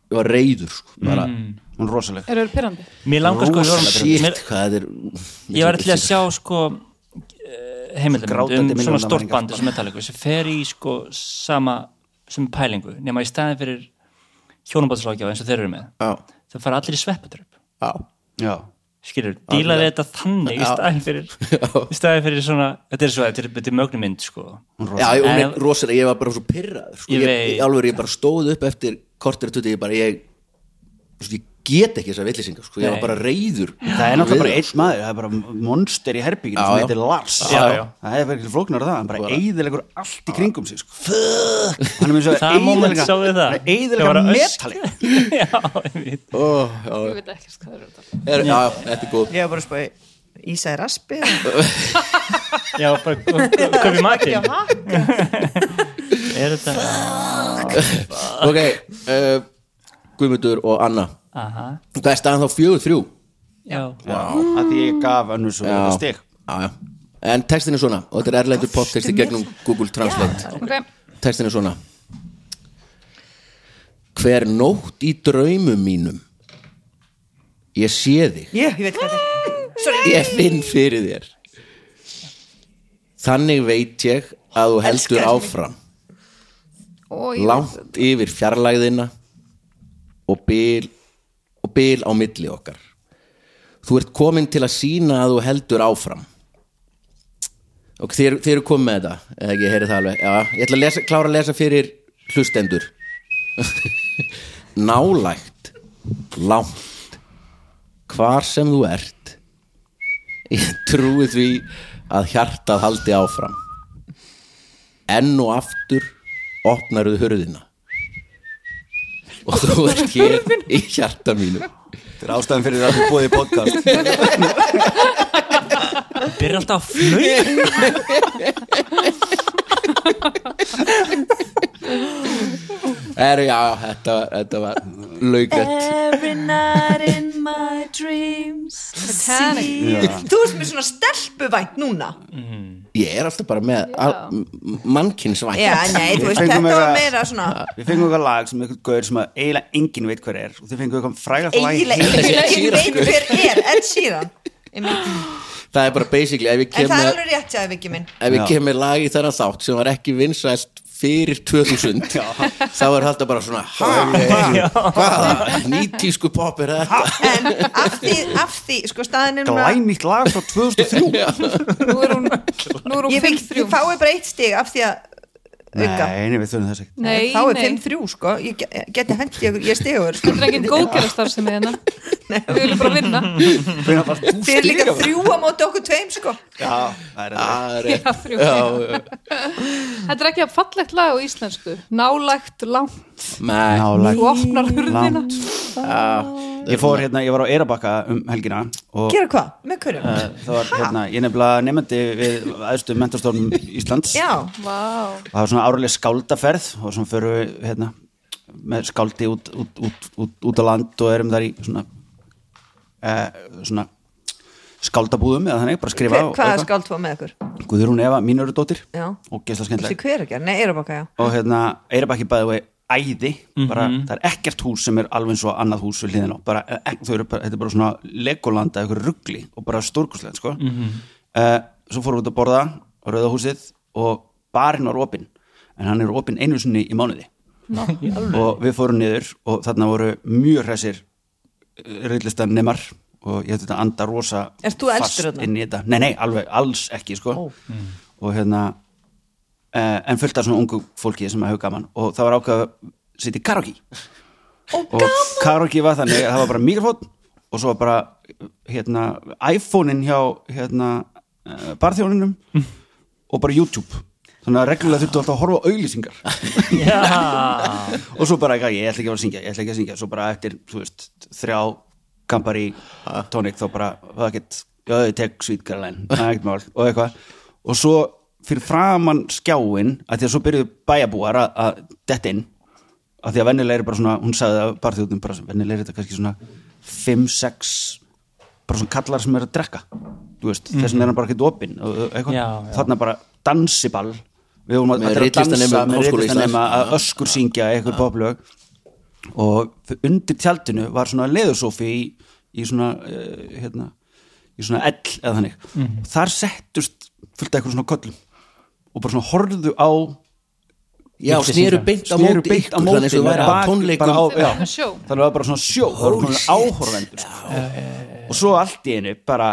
ég var reyður sko, bara
Mm. hún er rosaleg
Eru þeir pyrrandi?
mér langar sko
rosalega
ég var-
shit,
mér-
hvað þetta er
ég var til að sjá sko
Grátandi
heimildamönd um svona
milljónamæringar.
stórt bandi sem Metallica sem fer í sko sama sem pælingu nema í staðin fyrir hjónabáðsrákjáð eins og þeir eru með
já,
það fara allir í sveppatröp
já,
já,
skilur, dílaði þetta þannig í staðin
(laughs)
fyrir í staðin fyrir svona þetta er svo þetta er, þetta er mögnum mynd sko
hún er
já,
rosaleg
ég, hún
En-
er rosalega ég var bara svo pyrraður sko.
Ég
ég,
veit.
ég, alveg, ég bara stóð upp eftir kortir tuti, ég bara, ég þú veist, ég get ekki þessar villisingar sko. ég
Nei.
var bara reyður
það er náttúrulega bara einn maður, það er bara monster í herbygginu
Já,
sem
já.
heitir Lars
Já, já.
það er verið flóknar það, hann bara eyðilegur allt í kringum sig sko. Fuck. hann er með (laughs) svo
Það moment sáum við það. Það var
eyðilegur
að
metalik
(laughs) já, ég veit
oh, já,
Ég veit ekki hvað þeir eru að tala um.
er, já, já, þetta er góð
Ég var bara að spá í Ísa er raspi
já, bara köpi matinn
Já, ha?
er þetta
ok uh, Guðmundur og Anna
aha,
hvað er staðan þá fjögur þrjú
já,
að því ég gaf önnur svo stig
já, já. en textin er svona og þetta er erlendur poptexti gegnum Google Translate
Ok,
textin er svona hver nótt í draumum mínum ég sé þig
Ég, ég veit hvað þetta er
(laughs)
Sorry,
ég finn fyrir þér þannig veit ég að þú heldur
Elskar mig.
áfram
og ég
langt yfir fjarlægðina og bil og bil á milli okkar þú ert komin til að sína að þú heldur áfram og þið, þið eru komin með þetta eða ekki, ég heyri það alveg Já, ég ætla að lesa, klára að lesa fyrir hlustendur (laughs) nálægt langt hvar sem þú ert ég trúi því að hjartað haldi áfram enn og aftur opnarðu hurðina og þú ert hér í hjarta mínu
þetta er ástæðan fyrir að þú búið í podcast
byrja alltaf að (laughs) flöy
er, já, þetta, þetta var laugrætt
Every night in my dreams
Titanic.
Þú veist mér svona stelpuvænt núna
ég er alltaf bara með al- m- mannkynsvænt
Já, nei, þú veist,
Fengum
þetta var
meira-
meira svona
við fengum eitthvað lag sem eitthvað gaur sem að eiginlega enginn veit hver er og þið fengum eitthvað frægast lag í
Eiginlega,
heimi.
eiginlega, ég veit hver er Ed Sheeran Einmitt.
það er bara basically ef ég
En
kem
það er
með,
alveg rétt hjá þér, Viki minn
Já.
ef ég kem með lag í þennan þátt sem var ekki vinsælt fyrir 2000 þá er þetta bara svona ha, hva, hvaða nýtísku pop er þetta
En af því, af af því, sko, staðan er núna
glænýtt lag frá 2003
nú er hún, nú er hún
ég, vil,
5-3
ég fái bara eitt stig af því að auka
nei, nei, við þurfum þess ekki
nei,
þá er
nei,
5-3 sko, ég ge- geti hendi ég, ég stegur sko.
þetta er enginn góðgerastar sem (laughs) er hérna við viljum bara vinna
Hvenær varst þú
þeir eru líka
stigavörður?
þrjú á móti okkur tveim sko.
já, það er það
Já, þrjú. þetta er ekki að fallegt lag á íslensku nálægt, langt,
Nei,
nálægt
þú opnar hurðina
langt ég fór hérna, ég var á Eirabakka um helgina og
gera hvað, með hverjum
eh, það var hérna, ég er nefnilega nefndi við aðstu mentarstofnum Íslands
já,
Vá.
og það var svona árlega skáldaferð og svona förum við hérna með skáldi út, út, út, út, út á land og erum þar í svona eh, svona skáldabúðum eða þannig, bara skrifa
hver,
og- og
hvað er
eitthvað.
skáld fóð með ykkur
Guðrún Eva, mínurudóttir
Já.
og gæsla
þessi
skemmtileg
hverjar, nei, Eirabaka, já
og hérna Eirabakki bæði og æði bara, það er ekkert hús sem er alveg eins og annað hús við hliðin á, bara, ek, þau eru bara þetta er bara svona legolanda, eitthvað ruggli og bara stórkurslega, sko uh, svo fórum við út að borða á Rauða húsið og barinn var opinn en hann er opinn einu sinni í mánuði og við fórum niður og þarna voru mjög hressir reyllistan nemar og ég hefði þetta að anda rosa
Ert þú
fast
elstur þarna?
inn í þetta nei, nei, alveg, alls ekki sko. og hérna eh, en fullt af svona ungu fólki sem hefur gaman og það var ákveð að sitja í karaoke og karaoke var þannig að það var bara mikrofón og svo var bara hérna, iPhone-in hjá hérna, eh, barþjóninum og bara YouTube þannig að reglulega þurftu alltaf að horfa á auglýsingar (laughs) og svo bara eitthvað, ég ætla ekki að vera að syngja, ég ætla ekki að syngja svo bara eftir, þú veist, þrjá kampar í tónik þá bara það get, já, ég tek Sweet Caroline það er ekkert mál og eitthvað og svo fyrir framan skjáin að því að svo byrjuðu bæjabúar að- að detta inn, að því að vennilega er bara svona, hún sagði að barþjóðnum bara vennilega er þetta kannski svona 5-6 bara svona kallar sem er að drekka þú veist, þess vegna er hann bara ekkert opinn og og eitthvað,
Mhm. Já, já.
þarna bara dansiball við vorum að,
Með
þetta er að dansa
ritlistanemum
með
Háskóla
reytistanema
Íslands.
að öskur syngja eitthvað poplög og undir tjaldinu var svona leðusofi í, í svona uh, hérna, í svona ell eða þannig
Mhm.
þar settust fullt af eitthvað svona köllum og bara svona horfðu á
já, sneru beint á
sneru
móti ykkur, þannig að þú væri að
bak-
tónleikum
bara á, já,
Svona sjó.
þannig að það var bara svona sjó það var svona áhorvendur sko. og svo allt í einu bara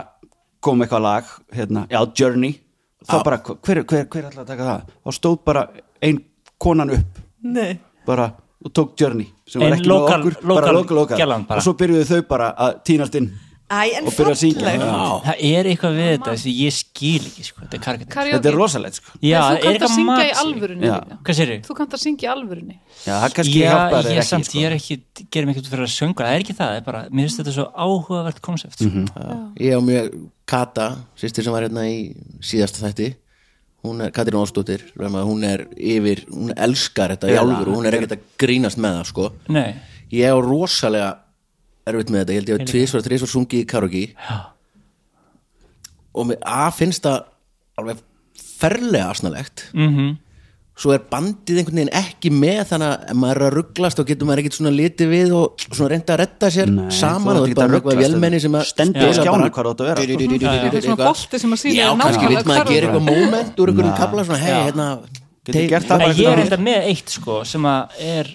kom eitthvað lag hérna, já, Journey þá bara, hver, hver, hver ætlaði að taka það þá stóð bara ein konan upp
nei,
bara og tók Journey sem var
Ein
ekki með
lokal-
okkur, bara
lokal
lokal, lokal.
gælan bara.
og svo byrjuðu þau bara að týnast inn
æ, en
og byrjuðu að syngja
falleg.
Já.
það er eitthvað við þetta sem ég skil ekki sko, þetta er karikatíf
Karaoke.
þetta er rosalegt sko.
já,
En þú
er
kannt að
eitthvað
syngja í
matsig.
alvörunni
Já.
líka.
hvað sér ég?
þú kannt að syngja í alvörunni
já, það kannski
Já,
hjálpar
ég
þér ekki
samt,
sko.
ég er ekki, gerum ekkert fyrir að sönga það er ekki það, það er bara, mér finnst þetta svo áhugavert konsept sko.
Ég á mjög Kata, sýstir sem var hérna í síðasta þætti hún er, Katrín Ástóttir hún er yfir, hún elskar þetta í alvöru hún er ekkert að grínast með það sko
nei,
ég á rosalega erfitt með þetta, ég held ég að tvísvar, tvísvar sungi í karaoke Já. og mér að finnst það alveg ferlega asnalegt -hmm.
Mhm.
svo er bandið einhvern veginn ekki með þannig að ef maður er að rugglast og getur maður ekkert svona litið við og svona reynda að redda sér
Nei,
saman
þú
og
ert ekki að
þetta bara eitthvað
ruglast,
vélmenni sem að
stendur á skjánum hvar þú átt að vera, sko.
þetta er svona bolti sem að
Já,
sína
kannski vil maður gera eitthvað moment úr einhverjum kapla svona, hei,
Já.
hérna
Getur
take-
gert það
en
bara
ég er
eitthvað-
enda með eitt sko, sem að er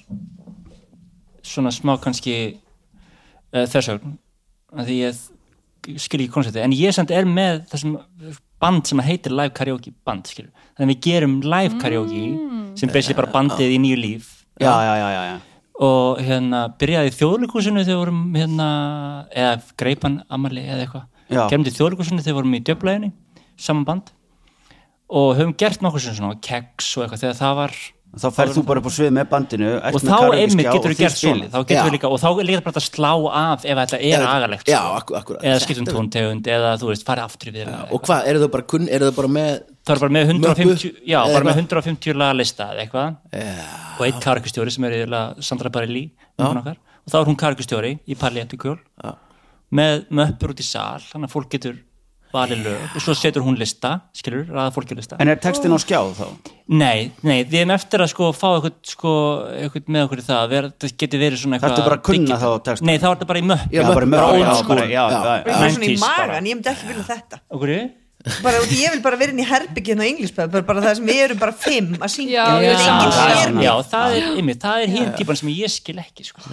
svona smá kannski uh, þversögn að því ég skil ekki konsepti en ég samt er með þessum band sem heitir live karaoke band skilur. þannig að við gerum live karaoke sem basically bara bandið í nýju líf
já, já, já, já, já.
og hérna byrjaði í þjóðleikúsinu þegar vorum hérna eða greipan amali eða
Já.
eitthvað kemdi í þjóðleikúsinu þegar vorum í djöflæðinu saman band og höfum gert nokkuð sem svona keks og eitthvað þegar það var
þá ferð þú bara upp á svið með bandinu ert
og
með
þá
karaoke-skjá
einmitt
og
getur við
þið
gert svona
spilið.
þá getur
Já.
við líka og þá er líka bara hægt að slá af ef þetta er
Já,
agalegt
já,
sko.
akku- akkúrat.
eða skiptum tóntegund eða þú veist farið aftur við
Já, og hvað, eru þau bara kunn, eru þau bara með
það er bara með 150
Möppu?
já,
Eða
bara með
eitthvað?
150 laga lista eða eitthvað og eitt karkustjóri sem er yfirlega Sandra Barilli okkar, og þá er hún karkustjóri í Palliatukjól með möppur út í sal þannig að fólk getur valið lög og svo setur hún lista, skilur, ræða fólki á lista
en er textin á skjá þá?
nei, nei, við erum eftir að sko fá eitthvað, sko, eitthvað með okkur í það vera, það getur verið svona eitthvað
Þarftu bara að kunna
digital.
þá texta?
nei, þá er þetta bara í möpp
Já,
já, bara
möppu,
með
bara
já,
old
já,
school.
bara- já, já,
Bara
já.
eitthvað svona í
90s bara.
magan, ég myndi ekki vilja þetta
okkur,
(laughs) bara, út í- ég vil bara vera inn í herbyggin á englisbæð bara, bara það sem við erum bara fimm að syngja
Já,
Það
já.
er enginn
það
sér
er,
mig.
já, það er, einmitt, það er hinn típan sem ég skil ekki sko.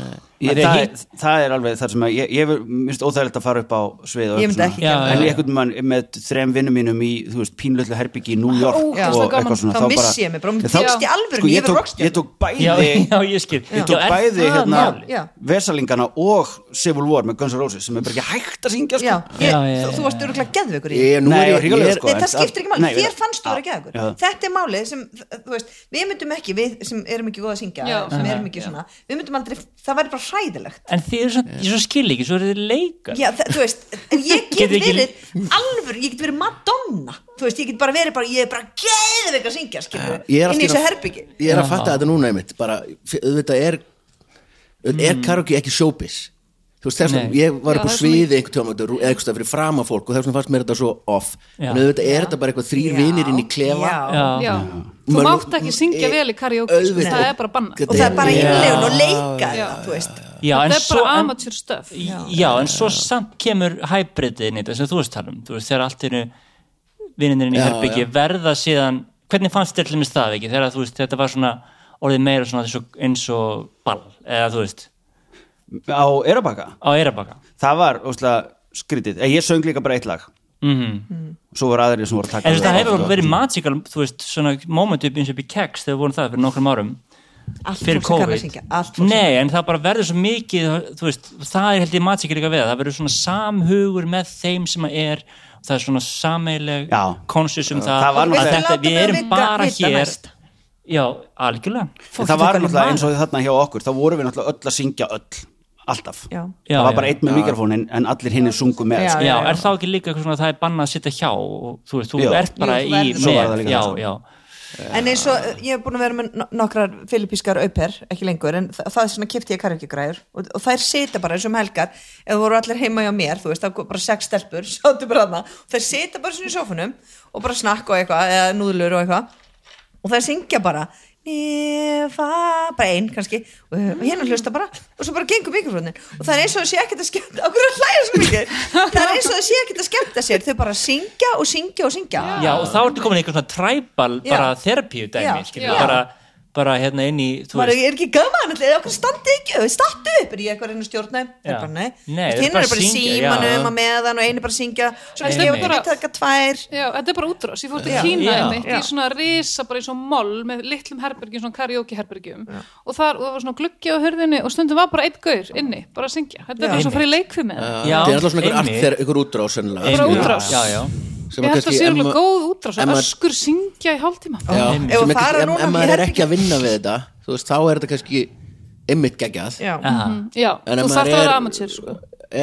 Ég,
En
það,
það
er, það er alveg þar sem að ég, ég minnst óþægilegt að fara upp á svið og
Ég myndi
eitthvað
ekki
svona.
gera
en
það.
einhvern mann með þrem vinnum mínum í þú veist, pínlöllu herbyggi í New York
Ógeðslega
og
gaman.
eitthvað svona
Þá
bara-
missi ég mig, bara,
Ég
missi
þá-
ég alvöru,
sko,
ég
ég
verð
tók,
rockstjarna.
ég tók bæði
já, (laughs) já, ég skil
ég tók
Já, er
bæði
það
hérna
málið?
Já.
Vesalingana og Civil War með Guns N' Roses sem er bara ekki hægt að syngja
Já,
sko.
ég,
Já, já,
þú- þú varst öruglega geðveikur í
Ég- nú
Nei,
er
ég var hrigalega,
ég er-
sko,
Nei,
en-
það skiptir ekki máli,
Nei,
þér
við-
fannst þú vera
Já.
geðveikur þetta er málið sem, þú veist, við myndum ekki við sem erum ekki góð að syngja
Já.
sem erum ekki svona, við myndum aldrei, það væri bara hræðilegt
en þið eru svona, ég svo skil ekki, svo eru þið leikar
Já, það, þú veist, en ég get
Get ekki-
verið alvöru, ég get verið Madonna þú veist, ég get bara verið bara, ég er bara geðveik að syngja, skilur,
Eh, Ég er að
inn í
skilja-
þessu herbyggi
ég er að fatta þetta núna einmitt bara, f- auðvitað er auðvitað er karaoke ekki showbiz þú veist þess að
Mm. Nei.
ég var upp á
Já, það er svona-
sviði einhvern tíma eða eitthvað fyrir frama fólk og þess vegna fannst mér þetta svo off
Já.
en auðvitað er þetta bara eitthvað þrýr vinir inn í klefa
Já.
já,
já, þú
Mörg- e-
mátt ekki syngja vel í karaoke sko,
Auðvitað.
það er bara banna
og það er bara
Já.
innlegun og leika
Já.
það, þú veist
já, en
það er
svo
bara
en-
amateur stuff
já, en svo samt kemur hybridin í þetta sem þú veist tala um þú veist, þegar allt eru vinninirinn í herbyggi verða síðan, hvernig fannst þér til dæmis það ekki, þegar þú veist, þetta var svona orðið meira svona eins og, eins og ball eða þú veist,
á Erabaka
á Eirabaka
það var óslega skrítið en ég söng líka bara eitt lag
mhm
svo var aðrið sem voru að taka
En þú veist, það
það
hefur verið magical, þú veist, svona moment upp eins og upp í keks þegar við vorum það fyrir nokkrum árum
allt
fyrir
fólk sem kann að
COVID.
syngja, allt fólk sem-
Nei, en það bara verður svo mikið, þú veist, það er held ég magical líka við það, það verður svona samhugur með þeim sem að er, það er svona sameileg
Já.
konsus um það,
það var
að
náttúrulega-
þetta,
Viltu
við
láta mig
erum
vika-
bara
vita
hér.
næst?
Já, algjörlega.
En það var náttúrulega eins og þarna hjá okkur þá vorum við náttúrulega öll að syngja öll alltaf,
Já.
Já,
það var
já.
bara einn með mikrofón en, en allir hinn er sungu með
Já,
sko.
Já, er þá ekki líka eitthvað svona að það er bannað að sitja hjá og þú veist, þú
Já.
ert bara
Jú, þú
í
verður-
Svo var það líka
já,
það.
já.
en eins og uh, ég hef búin að vera með no- nokkrar filipískar auper, ekki lengur en það, það er svona kipti ég karjökjagræður og, og þær sita bara eins og um helgar ef það voru allir heima hjá mér, þú veist, það voru bara sex stelpur (laughs) sáttu bara hana, þær sita bara svona í sófunum og bara snakka og eitthvað eða núðlur og eitthvað og þær syngja bara nefa, bara einn kannski og, og hérna hlusta bara og svo bara gengur mikrofónin og það er eins og það sé ekkert að skemmta (laughs) okkur að hlæja svo mikið það er eins og það sé ekkert að skemmta sér þau bara syngja og syngja og syngja
Já, og þá ertu komin í eitthvað svona træbal
Já.
bara þerapíu
Já,
dæmi, skilur,
já.
bara, bara hérna inn í, þú
maður
veist
er ekki gaman allir, eða okkur standi ekki statu upp, er ég eitthvað að reyna að stjórna þeim
Já.
bara nei,
Nei,
Þú veist,
þeir
hinn
bara
er bara í
syngja,
símanum
já.
að meðan og einu bara að syngja svo
Nei,
kannski
nei.
hefur bara taka tvær
Já, þetta er bara útrás, ég fór til
Já.
Kína
Já.
einmitt, í svona risa, bara í svona moll með litlum herbergjum, svona karaoke herbergjum og þar, og það var svona gluggi á hurðinni og stundum var bara einn gaur inni, bara að syngja þetta er bara svo
Einmitt.
fyrir leikfið með það
Já,
það er alltaf svona einhver art
einmitt.
þegar einhver útrás sennilega.
Bara
Einmitt.
útrás.
Já, já.
Sem
Ég
að
held að
kannski-
sé
en
alveg
ma-
góð útrás
en
að
maður-
öskur syngja í hálftíma
Já, sem
Einmitt.
Ef að
ekki-
fara
ef-
núna
ef
í
maður er
herbergi-
ekki að vinna við þetta þú veist, þá er þetta kannski einmitt geggjað
já,
Aha.
Já,
En
þú
ef
þarft
maður
að vera
er-
amateur sko.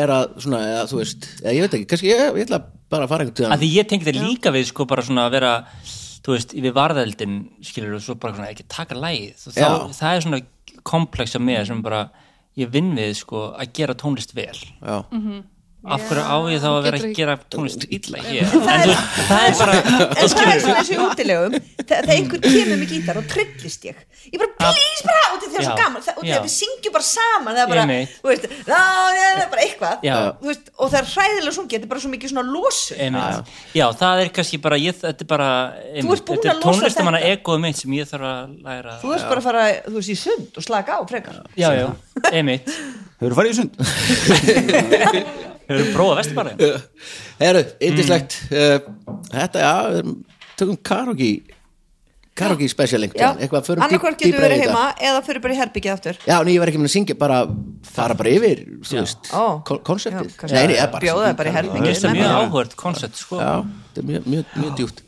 er að svona, eða, þú veist, eða, ég veit ekki kannski ég, ég ætla bara að fara einhvern tíðan
að því ég tengi þetta líka við sko bara svona að vera þú veist, við varðeldin skilur og svo bara svona ekki taka lægið og þá,
Já.
það er svona komplexa með sem bara, ég vinn við sko að gera tónlist vel
Já.
af hverju á ég þá að vera
Getur
að
ekki-
gera tónlist illa hér en þú veist, það er bara
en það er svona eins og í útilegum þe- þegar einhver kemur með gítar og trillist ég ég bara please bara út í því að það er svo
Já.
gaman það- út í því
Já.
að við syngjum bara saman það er bara,
Einmitt.
þú veist, "Lá, já, já", bara eitthvað
Já.
Þú veist, og það er hræðilega sungið, þetta er bara svo mikið svona losun
Einmitt. Já, það er kannski bara, ég, þetta er bara einmitt,
ert búin
þetta
að
er
losa
tónlistamanna
þetta.
egoð mitt sem ég þarf að læra
þú veist bara að fara, þú veist, í sund og slaka á frekar
Já, já, einmitt
hefur farið í sund
Hefur prófað vesturbara?
Herru, yndislegt
Mm.
uh, Þetta, já, við erum- tökum karaoke karaoke special
Já,
einhvern tímann, eitthvað, förum dýp,
annarkvært getur
dýpra í
verið
þetta
heima eða fyrir bara í herbyggið aftur
Já, en ég var ekki með að syngja, bara fara bara yfir, þú veist,
Ó.
kon-
Já,
konseptið
kannski.
Nei, nei, eða bara
Bjóða bara í
Mér
herbyggið
finnst það mjög áhört koncept sko
Já, þetta er mjög, mjög, mjög djúpt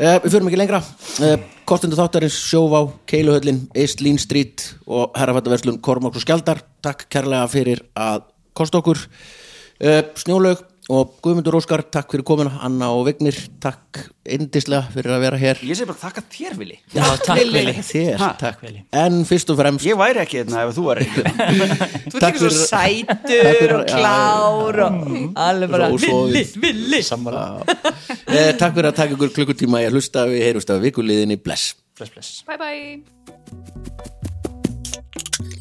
uh, Við förum ekki lengra uh, Kortundu þáttarins, Sjóvá, Keiluhöllin Eist Lín Street og herrafættaverslun Kormáks og Skjaldar Takk kærlega fyrir að kosta okkur uh, Snjólaug og Guðmundur Óskar Takk fyrir komuna, Anna og Vignir Takk indislega fyrir að vera hér
ég segi bara þakka þér Vili
Já, takk Vili
Þér,
Ha,
takk
Vili.
En fyrst og fremst
ég væri ekki hérna ef þú væri ekki
Þú ert
Takk
ekki svo
fyrir- Takk
sætur
fyrir-
og klár og alveg bara
Og svo-
villi, villi
uh, Takk fyrir að taka ykkur klukkutíma í að hlusta Við heyrumst af vikuliðinni, bless
Bless, bless
Bye bye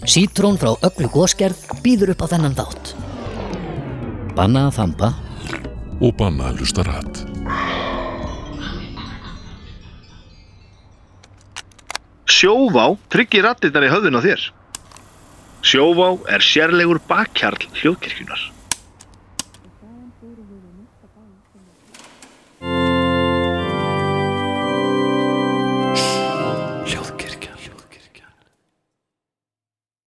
Sítrón frá öllu góskerð býður upp á þennan þátt. Banna að þamba
og banna að hlusta rætt.
Sjóvá tryggir rattirnar í höfðun á þér. Sjóvá er sérlegur bakkjarl hljóðkirkjunar.